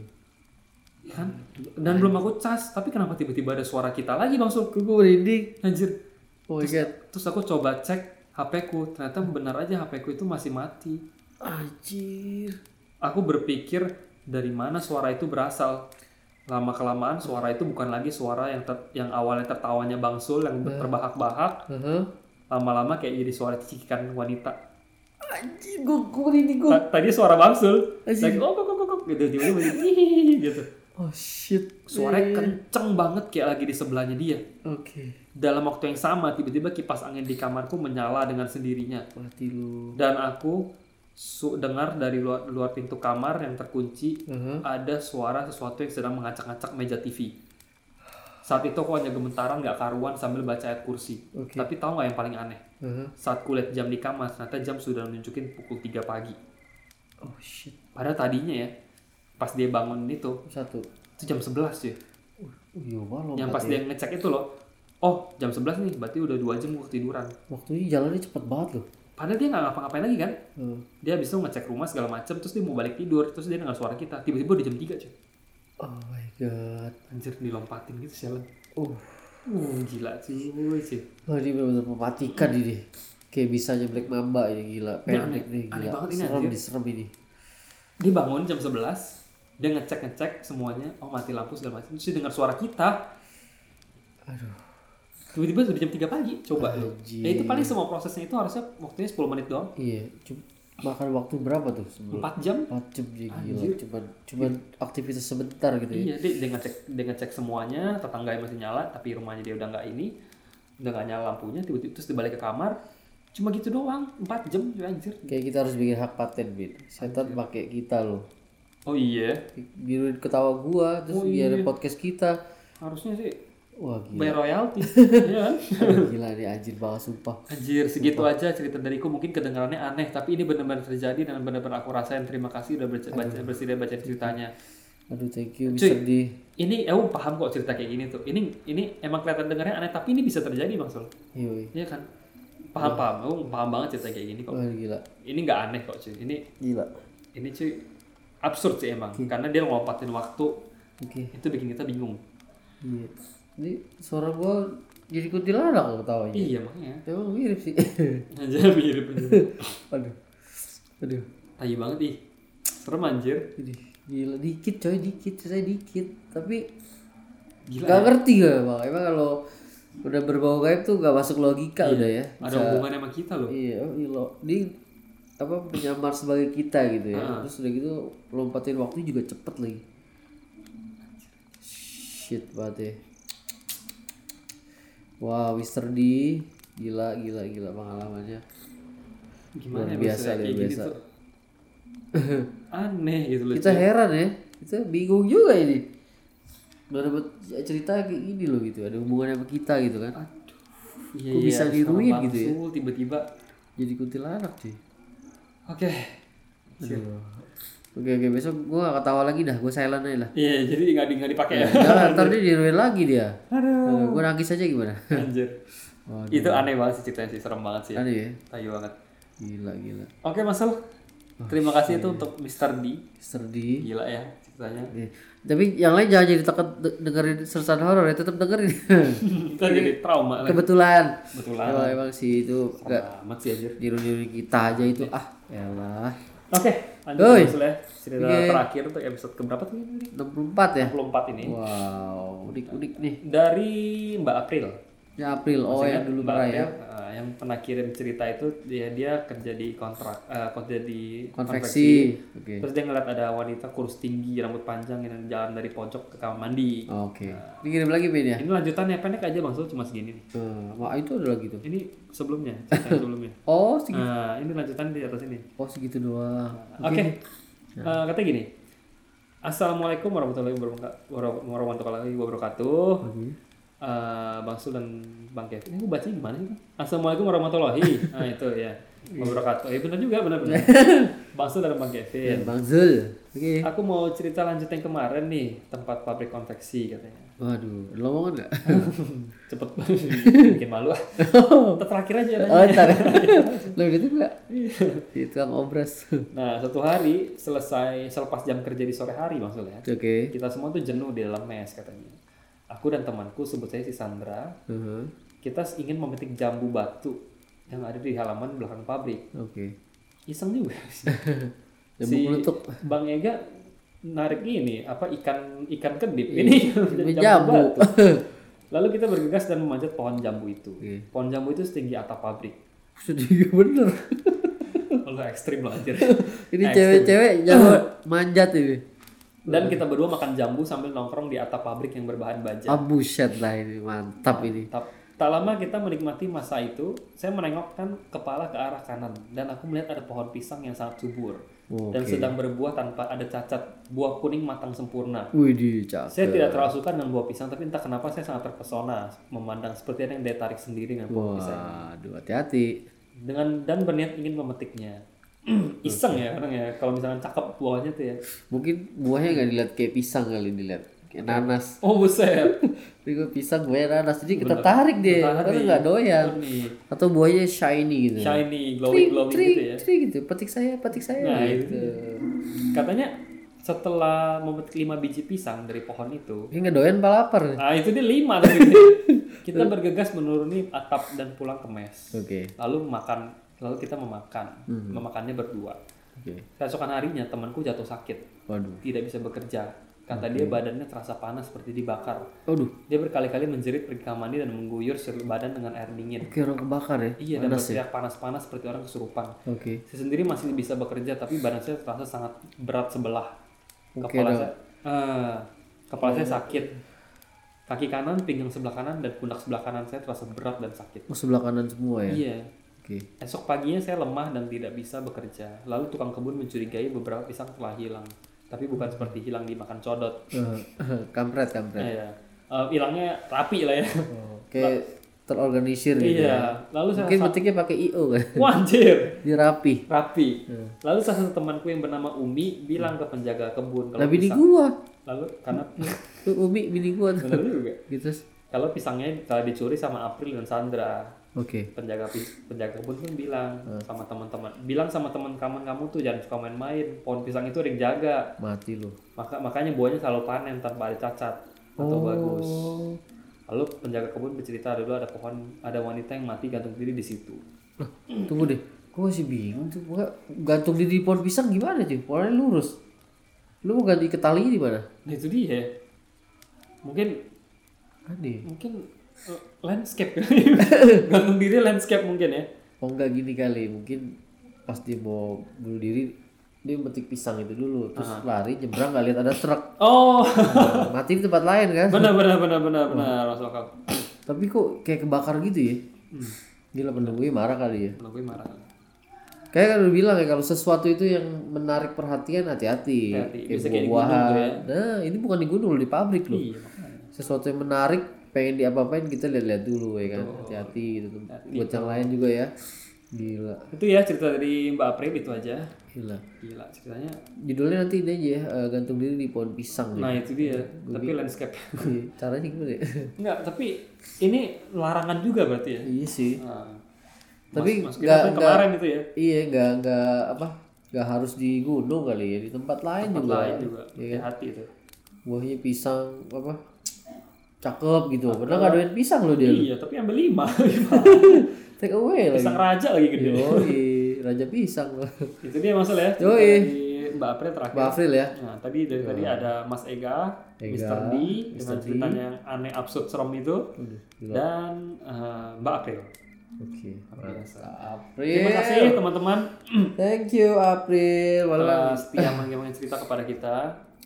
[SPEAKER 1] ya kan dan belum aku cas tapi kenapa tiba-tiba ada suara kita lagi bang Sul
[SPEAKER 2] Kok gue merinding?
[SPEAKER 1] anjir
[SPEAKER 2] Oh my god.
[SPEAKER 1] terus aku coba cek HP ku ternyata benar aja HP ku itu masih mati
[SPEAKER 2] Anjir.
[SPEAKER 1] aku berpikir dari mana suara itu berasal lama kelamaan suara itu bukan lagi suara yang ter- yang awalnya tertawanya bang Sul yang terbahak-bahak
[SPEAKER 2] Heeh.
[SPEAKER 1] lama-lama kayak jadi suara cikikan wanita
[SPEAKER 2] Anjir, gue gue merinding gue.
[SPEAKER 1] Ta- tadi suara bangsul
[SPEAKER 2] Asik.
[SPEAKER 1] like oh kok kok kok, kok gitu tiba-tiba bunyi, "Hihihi," gitu
[SPEAKER 2] Oh shit.
[SPEAKER 1] suaranya
[SPEAKER 2] Eh,
[SPEAKER 1] kenceng banget kayak lagi di sebelahnya dia
[SPEAKER 2] Oke.
[SPEAKER 1] dalam waktu yang sama tiba-tiba kipas angin di kamarku menyala dengan sendirinya
[SPEAKER 2] Mati lu.
[SPEAKER 1] dan aku su- dengar dari luar luar pintu kamar yang terkunci
[SPEAKER 2] Heeh.
[SPEAKER 1] ada suara sesuatu yang sedang mengacak-acak meja TV saat itu aku hanya gemetaran nggak karuan sambil baca ayat kursi
[SPEAKER 2] Oke.
[SPEAKER 1] tapi tahu nggak yang paling aneh
[SPEAKER 2] Heeh.
[SPEAKER 1] saat kulihat jam di kamar ternyata jam sudah nunjukin pukul 3 pagi
[SPEAKER 2] Oh shit.
[SPEAKER 1] Padahal tadinya ya, pas dia bangun itu,
[SPEAKER 2] Satu.
[SPEAKER 1] itu jam 11 ya.
[SPEAKER 2] Oh, iya malam.
[SPEAKER 1] Yang pas dia ngecek itu loh, oh jam 11 nih, berarti udah 2 jam gue ketiduran.
[SPEAKER 2] Waktunya jalannya cepet banget loh.
[SPEAKER 1] Padahal dia nggak ngapa-ngapain lagi kan.
[SPEAKER 2] Heeh.
[SPEAKER 1] Dia habis itu ngecek rumah segala macem, terus dia mau balik tidur, terus dia dengar suara kita. Tiba-tiba udah jam 3 cuy.
[SPEAKER 2] Oh my god.
[SPEAKER 1] Anjir, dilompatin gitu sialan.
[SPEAKER 2] Uh.
[SPEAKER 1] Uh, gila cuy. cuy.
[SPEAKER 2] Wah, ini benar-benar mematikan ini. Kayak bisanya Black Mamba ini gila. Pendek nih
[SPEAKER 1] Nah, aneh
[SPEAKER 2] gila.
[SPEAKER 1] banget ini,
[SPEAKER 2] Serem
[SPEAKER 1] anjir.
[SPEAKER 2] nih, serem ini.
[SPEAKER 1] Dia bangun jam 11, dia ngecek-ngecek semuanya, oh mati lampu segala macem. Terus dia dengar suara kita,
[SPEAKER 2] Aduh.
[SPEAKER 1] tiba-tiba udah jam 3 pagi. Coba loh.
[SPEAKER 2] Anjir.
[SPEAKER 1] Ya itu paling semua prosesnya itu harusnya waktunya 10 menit doang.
[SPEAKER 2] Iya. Cuma makan waktu berapa tuh sebelum?
[SPEAKER 1] 4 jam
[SPEAKER 2] Empat jam dia gila. Cuman, cuman aktivitas sebentar gitu ya.
[SPEAKER 1] Iya, dia, dia ngecek dia ngecek semuanya, tetangga masih nyala, tapi rumahnya dia udah nggak ini, udah nggak nyala lampunya, tiba-tiba terus dia balik ke kamar, cuma gitu doang, 4 jam ya anjir.
[SPEAKER 2] Kayak kita harus bikin hak paten, Bin. Setan pakai kita loh.
[SPEAKER 1] Oh iya,
[SPEAKER 2] Biruin ketawa
[SPEAKER 1] Oh,
[SPEAKER 2] gua, terus biarin podcast kita.
[SPEAKER 1] harusnya sih
[SPEAKER 2] Wah, gila.
[SPEAKER 1] bayar royalti, ya kan?
[SPEAKER 2] gila nih anjir banget sumpah.
[SPEAKER 1] Anjir, segitu aja cerita dariku mungkin kedengarannya aneh, tapi ini benar-benar terjadi dan benar-benar aku rasain. Terima kasih udah baca, baca bersedia baca ceritanya.
[SPEAKER 2] Aduh, thank you Mr. D.
[SPEAKER 1] Ini aku paham kok cerita kayak gini tuh. Ini ini emang kelihatan dengarnya aneh, tapi ini bisa terjadi Bang Sol.
[SPEAKER 2] Yoi.
[SPEAKER 1] Iya kan? Paham paham, aku paham banget cerita kayak gini kok.
[SPEAKER 2] Wah, gila.
[SPEAKER 1] ini nggak aneh kok cuy ini
[SPEAKER 2] Gila.
[SPEAKER 1] ini cuy absurd sih emang karena dia ngompatin waktu
[SPEAKER 2] Oke.
[SPEAKER 1] itu bikin kita bingung
[SPEAKER 2] Iya. Ini suara gua jadi kuntilanak loh ketawanya.
[SPEAKER 1] iya makanya
[SPEAKER 2] Emang mirip sih.
[SPEAKER 1] anjir mirip anjir
[SPEAKER 2] Aduh. Aduh.
[SPEAKER 1] tai banget ih serem anjir
[SPEAKER 2] Ini Gila dikit coy, dikit, saya dikit. Tapi
[SPEAKER 1] Gila ya?
[SPEAKER 2] gak ngerti gak bang? Emang kalau udah berbau gaib tuh gak masuk logika udah
[SPEAKER 1] Iya.
[SPEAKER 2] ya.
[SPEAKER 1] Ada hubungannya sama kita loh.
[SPEAKER 2] Iya, oh, iya, lo di apa menyamar sebagai kita gitu ya. Terus udah gitu lompatin waktu juga cepet lagi. Shit banget ya. Wah, Mister D gila gila gila pengalamannya.
[SPEAKER 1] Gimana
[SPEAKER 2] Luar
[SPEAKER 1] ya
[SPEAKER 2] biasa,
[SPEAKER 1] bisa kayak
[SPEAKER 2] luar
[SPEAKER 1] gini
[SPEAKER 2] biasa.
[SPEAKER 1] tuh? Aneh gitu loh.
[SPEAKER 2] Kita heran ya. Kita bingung juga ini. Udah dapet cerita kayak gini loh gitu, ada hubungannya sama kita gitu kan.
[SPEAKER 1] Aduh. Iya,
[SPEAKER 2] Kok bisa diruin
[SPEAKER 1] sama
[SPEAKER 2] gitu ya?
[SPEAKER 1] Bangsul Tiba-tiba.
[SPEAKER 2] Jadi kuntilanak cuy.
[SPEAKER 1] Oke.
[SPEAKER 2] Oke oke besok gua gak ketawa lagi dah, gua silent aja lah.
[SPEAKER 1] Iya, jadi nggak di, nggak dipakai ya.
[SPEAKER 2] Jangan, ntar dia diruin lagi dia.
[SPEAKER 1] Aduh.
[SPEAKER 2] Eh, gua nangis aja gimana?
[SPEAKER 1] Anjir. Itu aneh banget sih ceritanya sih, serem banget sih.
[SPEAKER 2] Aduh ya,
[SPEAKER 1] Tayu banget.
[SPEAKER 2] gila gila.
[SPEAKER 1] Oke, Mas Sul. Terima kasih itu untuk Mr. D.
[SPEAKER 2] Mister D.
[SPEAKER 1] Gila ya ceritanya.
[SPEAKER 2] Oke. Iya. Tapi yang lain jangan jadi takut de- dengerin sersan horor ya, tetap dengerin.
[SPEAKER 1] Kita jadi trauma lah.
[SPEAKER 2] Kebetulan.
[SPEAKER 1] Kebetulan.
[SPEAKER 2] Kalau emang sih itu gak
[SPEAKER 1] Amat sih anjir.
[SPEAKER 2] niru-niruin kita aja itu ah elah
[SPEAKER 1] Oke, lanjut
[SPEAKER 2] Oi.
[SPEAKER 1] Mas Sul ya. Cerita
[SPEAKER 2] Oke.
[SPEAKER 1] terakhir untuk episode keberapa tuh ini?
[SPEAKER 2] 64 ya
[SPEAKER 1] 24 ini.
[SPEAKER 2] wow udik-udik nih
[SPEAKER 1] Dari Mbak April.
[SPEAKER 2] ya April oh yang dulu
[SPEAKER 1] Mbak
[SPEAKER 2] merah ya
[SPEAKER 1] April, eh, yang pernah kirim cerita itu dia dia kerja di kontrak eh, kerja di
[SPEAKER 2] konveksi oke
[SPEAKER 1] Terus dia ngeliat ada wanita kurus tinggi, rambut panjang yang jalan dari pojok ke kamar mandi.
[SPEAKER 2] oke ini kirim lagi Ben ya
[SPEAKER 1] Ini lanjutannya pendek aja Bang Sul cuma segini nih.
[SPEAKER 2] Eh, wah itu ada lagi tuh
[SPEAKER 1] Ini sebelumnya, cerita yang sebelumnya.
[SPEAKER 2] oh segitu
[SPEAKER 1] Nah, ini lanjutan di atas ini.
[SPEAKER 2] oh segitu doang
[SPEAKER 1] Oke. Eh, katanya gini. Assalamualaikum warahmatullahi wabarakatuh. Warahmatullahi wabarakatuh. Eh, Bang Sul dan Bang Kevin. Ini gue bacanya gimana sih? Bang? Assalamualaikum warahmatullahi. Nah, itu ya.
[SPEAKER 2] Iya.
[SPEAKER 1] Wabarakatuh. Ya benar juga, benar benar. Bang Sul dan Bang Kevin.
[SPEAKER 2] Dan Bang Zul Iya. oke
[SPEAKER 1] Aku mau cerita lanjut yang kemarin nih, tempat pabrik konveksi katanya.
[SPEAKER 2] waduh ada lowongan nggak
[SPEAKER 1] Cepet banget, bikin malu. ah. Ntar Terakhir aja.
[SPEAKER 2] oh ntar lo gitu nggak itu yang obras oke
[SPEAKER 1] Nah, satu hari selesai selepas jam kerja di sore hari ya. maksudnya. Kita semua tuh jenuh di dalam mes katanya. Aku dan temanku sebut saya si Sandra,
[SPEAKER 2] Uh-huh.
[SPEAKER 1] kita ingin memetik jambu batu yang ada di halaman belakang pabrik.
[SPEAKER 2] oke
[SPEAKER 1] Iseng juga.
[SPEAKER 2] Jambu meletup.
[SPEAKER 1] Bang Ega narik ini apa ikan ikan kedip ini
[SPEAKER 2] Iya, jambu.
[SPEAKER 1] batu. Lalu kita bergegas dan memanjat pohon jambu itu.
[SPEAKER 2] Iya.
[SPEAKER 1] Pohon jambu itu setinggi atap pabrik.
[SPEAKER 2] sedih bener
[SPEAKER 1] Lalu ekstrim loh anjir.
[SPEAKER 2] ini
[SPEAKER 1] Nah,
[SPEAKER 2] cewek-cewek jago manjat ini
[SPEAKER 1] Dan kita berdua makan jambu sambil nongkrong di atap pabrik yang berbahan baja.
[SPEAKER 2] ah buset lah ini mantap ini
[SPEAKER 1] Tap- Tak lama kita menikmati masa itu, saya menengokkan kepala ke arah kanan dan aku melihat ada pohon pisang yang sangat subur dan sedang berbuah tanpa ada cacat, buah kuning matang sempurna.
[SPEAKER 2] Widih, cakep.
[SPEAKER 1] Saya tidak terlalu suka dengan buah pisang, tapi entah kenapa saya sangat terpesona memandang seperti ada yang daya tarik sendiri dengan pohon pisang.
[SPEAKER 2] Waduh, hati-hati.
[SPEAKER 1] Dengan dan berniat ingin memetiknya. Iseng ya orang ya, kalau misalnya cakep buahnya tuh ya.
[SPEAKER 2] Mungkin buahnya nggak dilihat kayak pisang kali dilihat kayak nanas.
[SPEAKER 1] Oh buset.
[SPEAKER 2] Tapi gua pisang buahnya nanas jadi kita tarik dia karena nggak doyan.
[SPEAKER 1] Nih,
[SPEAKER 2] Atau buahnya shiny gitu.
[SPEAKER 1] shiny, glowing, glowing
[SPEAKER 2] Trik,
[SPEAKER 1] gitu ya.
[SPEAKER 2] trik gitu. Petik saya, petik saya
[SPEAKER 1] Nah,
[SPEAKER 2] gitu.
[SPEAKER 1] Katanya setelah memetik 5 biji pisang dari pohon itu,
[SPEAKER 2] Ini nggak doyan pak lapar. Oke.
[SPEAKER 1] nah itu dia 5 tadi. kita bergegas menuruni atap dan pulang ke mes. Lalu makan, lalu kita memakan, memakannya berdua.
[SPEAKER 2] Oke.
[SPEAKER 1] Keesokan harinya temanku jatuh sakit,
[SPEAKER 2] Waduh.
[SPEAKER 1] tidak bisa bekerja. Kata dia badannya terasa panas seperti dibakar.
[SPEAKER 2] Waduh.
[SPEAKER 1] Dia berkali-kali menjerit pergi kamar mandi dan mengguyur seluruh badan dengan air dingin.
[SPEAKER 2] Kayak orang kebakar ya.
[SPEAKER 1] Iya, dan berteriak panas-panas seperti orang kesurupan.
[SPEAKER 2] Oke.
[SPEAKER 1] Saya sendiri masih bisa bekerja tapi badan saya terasa sangat berat sebelah.
[SPEAKER 2] Oke,
[SPEAKER 1] Kepala
[SPEAKER 2] dok.
[SPEAKER 1] saya eh, kepala saya sakit. Kaki kanan, pinggang sebelah kanan dan pundak sebelah kanan saya terasa berat dan sakit.
[SPEAKER 2] Oh, sebelah kanan semua ya.
[SPEAKER 1] Iya.
[SPEAKER 2] Oke.
[SPEAKER 1] Esok paginya saya lemah dan tidak bisa bekerja. Lalu tukang kebun mencurigai beberapa pisang telah hilang, tapi bukan seperti hilang dimakan codot.
[SPEAKER 2] Eh, kampret, kampret.
[SPEAKER 1] Iya. Eh, hilangnya rapi lah ya.
[SPEAKER 2] Kayak terorganisir gitu.
[SPEAKER 1] iya. Lalu saya
[SPEAKER 2] Mungkin petiknya pakai IO kan.
[SPEAKER 1] Wah, anjir.
[SPEAKER 2] Dia rapi.
[SPEAKER 1] Rapi.
[SPEAKER 2] Iya.
[SPEAKER 1] Lalu salah satu temanku yang bernama Umi bilang ke penjaga kebun kalau Iya.
[SPEAKER 2] Lah Nah, bini
[SPEAKER 1] pisang-
[SPEAKER 2] gua.
[SPEAKER 1] Lalu karena
[SPEAKER 2] Tuh, Umi bini gua tuh.
[SPEAKER 1] benar juga.
[SPEAKER 2] gitu terus
[SPEAKER 1] Kalau pisangnya telah dicuri sama April dan Sandra,
[SPEAKER 2] oke
[SPEAKER 1] penjaga pis- penjaga kebun pun bilang sama teman-teman, bilang sama teman kamu kamu tuh jangan suka main-main. Pohon pisang itu ada yang jaga.
[SPEAKER 2] mati lu
[SPEAKER 1] Maka makanya buahnya selalu panen tanpa ada cacat atau
[SPEAKER 2] Oh.
[SPEAKER 1] bagus. Lalu penjaga kebun bercerita dulu ada pohon ada wanita yang mati gantung diri di situ.
[SPEAKER 2] Loh, tunggu deh gua masih bingung tuh gua gantung diri di pohon pisang gimana cuy pohonnya lurus Lu mau ganti ke tali di mana?
[SPEAKER 1] Nah, itu dia. Mungkin
[SPEAKER 2] Aneh.
[SPEAKER 1] mungkin eh, landscape gantung diri landscape mungkin ya
[SPEAKER 2] Oh enggak gini kali, mungkin pas dia mau bunuh diri dia metik pisang itu dulu terus lari nyebrang nggak lihat ada truk
[SPEAKER 1] oh
[SPEAKER 2] Nah, mati di tempat lain kan
[SPEAKER 1] benar benar benar benar benar masuk akal
[SPEAKER 2] tapi kok kayak kebakar gitu ya
[SPEAKER 1] Hmm.
[SPEAKER 2] gila penunggu gue marah kali ya
[SPEAKER 1] Kalau gue marah
[SPEAKER 2] kayak kan udah bilang ya kalau sesuatu itu yang menarik perhatian hati-hati
[SPEAKER 1] Hati-hati.
[SPEAKER 2] kayak
[SPEAKER 1] Bisa kayak di ya.
[SPEAKER 2] buah-buahan nah ini bukan di gunung di pabrik loh
[SPEAKER 1] iya makanya.
[SPEAKER 2] sesuatu yang menarik pengen diapa-apain kita lihat-lihat dulu ya kan hati-hati gitu tuh buat yang lain juga ya gila
[SPEAKER 1] itu ya cerita dari Mbak April itu aja
[SPEAKER 2] gila
[SPEAKER 1] gila ceritanya
[SPEAKER 2] judulnya nanti ini aja ya eh, gantung diri di pohon pisang gitu
[SPEAKER 1] nah itu dia tapi landscape
[SPEAKER 2] Iya, caranya gimana ya?
[SPEAKER 1] enggak tapi ini larangan juga berarti ya
[SPEAKER 2] iya sih
[SPEAKER 1] nah,
[SPEAKER 2] tapi
[SPEAKER 1] mas kita kan kemarin itu ya
[SPEAKER 2] iya nggak nggak apa nggak harus di gunung kali ya di tempat lain juga Iya.
[SPEAKER 1] lain juga hati-hati itu
[SPEAKER 2] buahnya pisang apa cakep gitu pernah nggak doain pisang lo dia Iya.
[SPEAKER 1] iya tapi ambil lima
[SPEAKER 2] take away lagi
[SPEAKER 1] sang raja lagi gede
[SPEAKER 2] Iya. Yoi, raja pisang lo
[SPEAKER 1] itu dia masalah ya cerita
[SPEAKER 2] Yoi.
[SPEAKER 1] dari Mbak April terakhir
[SPEAKER 2] Mbak Afril ya
[SPEAKER 1] Nah, tadi dari tadi ada Mas Ega, Mr. D dengan ceritanya yang aneh absurd serem itu dan eh, Mbak April.
[SPEAKER 2] oke
[SPEAKER 1] Terima
[SPEAKER 2] April
[SPEAKER 1] kasih teman-teman
[SPEAKER 2] thank you April Walau-
[SPEAKER 1] telah setia mengirimkan cerita kepada kita.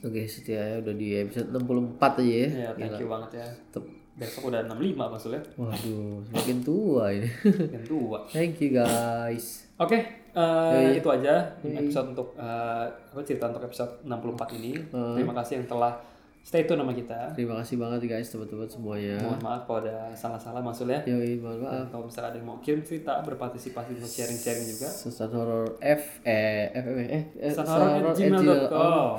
[SPEAKER 2] oke setia ya udah di episode 64 aja ya
[SPEAKER 1] Ya, thank you banget ya.
[SPEAKER 2] Tep-
[SPEAKER 1] Besok udah 65 maksudnya.
[SPEAKER 2] waduh semakin tua ini
[SPEAKER 1] Yang tua.
[SPEAKER 2] thank you guys
[SPEAKER 1] Oke, eh, itu aja episode untuk eh, apa cerita untuk episode 64 ini. Terima kasih yang telah stay tune sama kita.
[SPEAKER 2] terima kasih banget guys teman-teman semuanya
[SPEAKER 1] Mohon maaf kalau ada salah-salah maksudnya.
[SPEAKER 2] Yoi, mohon maaf
[SPEAKER 1] Kalau misalnya ada yang mau kirim cerita, berpartisipasi untuk sharing-sharing juga.
[SPEAKER 2] Sesan horor F eh F eh eh, eh
[SPEAKER 1] sanhoror@gmail.com.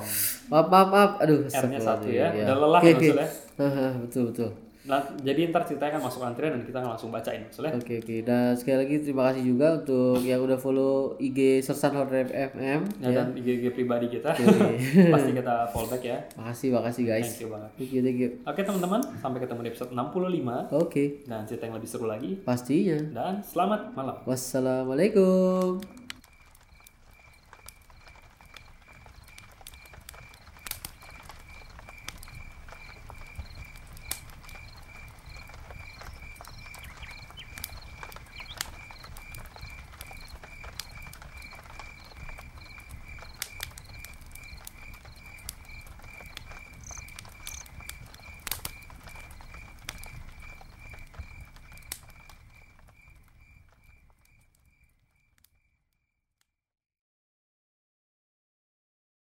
[SPEAKER 2] Maaf maaf maaf. Aduh,
[SPEAKER 1] R-nya satu
[SPEAKER 2] astagfirullahaladzim,
[SPEAKER 1] ya. Udah lelah
[SPEAKER 2] Oke, oke.
[SPEAKER 1] maksudnya.
[SPEAKER 2] Haha, betul betul.
[SPEAKER 1] Nah, jadi ntar ceritanya kan masuk antrian dan kita akan langsung bacain maksudnya.
[SPEAKER 2] Oke oke. Dan sekali lagi terima kasih juga untuk yang udah follow IG Sersan Horror FMM.
[SPEAKER 1] Ya, dan IG-IG pribadi kita pasti kita fallback ya.
[SPEAKER 2] Makasih makasih guys.
[SPEAKER 1] Thank you banget.
[SPEAKER 2] Thank you thank you.
[SPEAKER 1] Oke teman-teman, sampai ketemu di episode 65
[SPEAKER 2] Oke,
[SPEAKER 1] dan cerita yang lebih seru lagi.
[SPEAKER 2] pastinya.
[SPEAKER 1] Dan selamat malam.
[SPEAKER 2] Wassalamualaikum.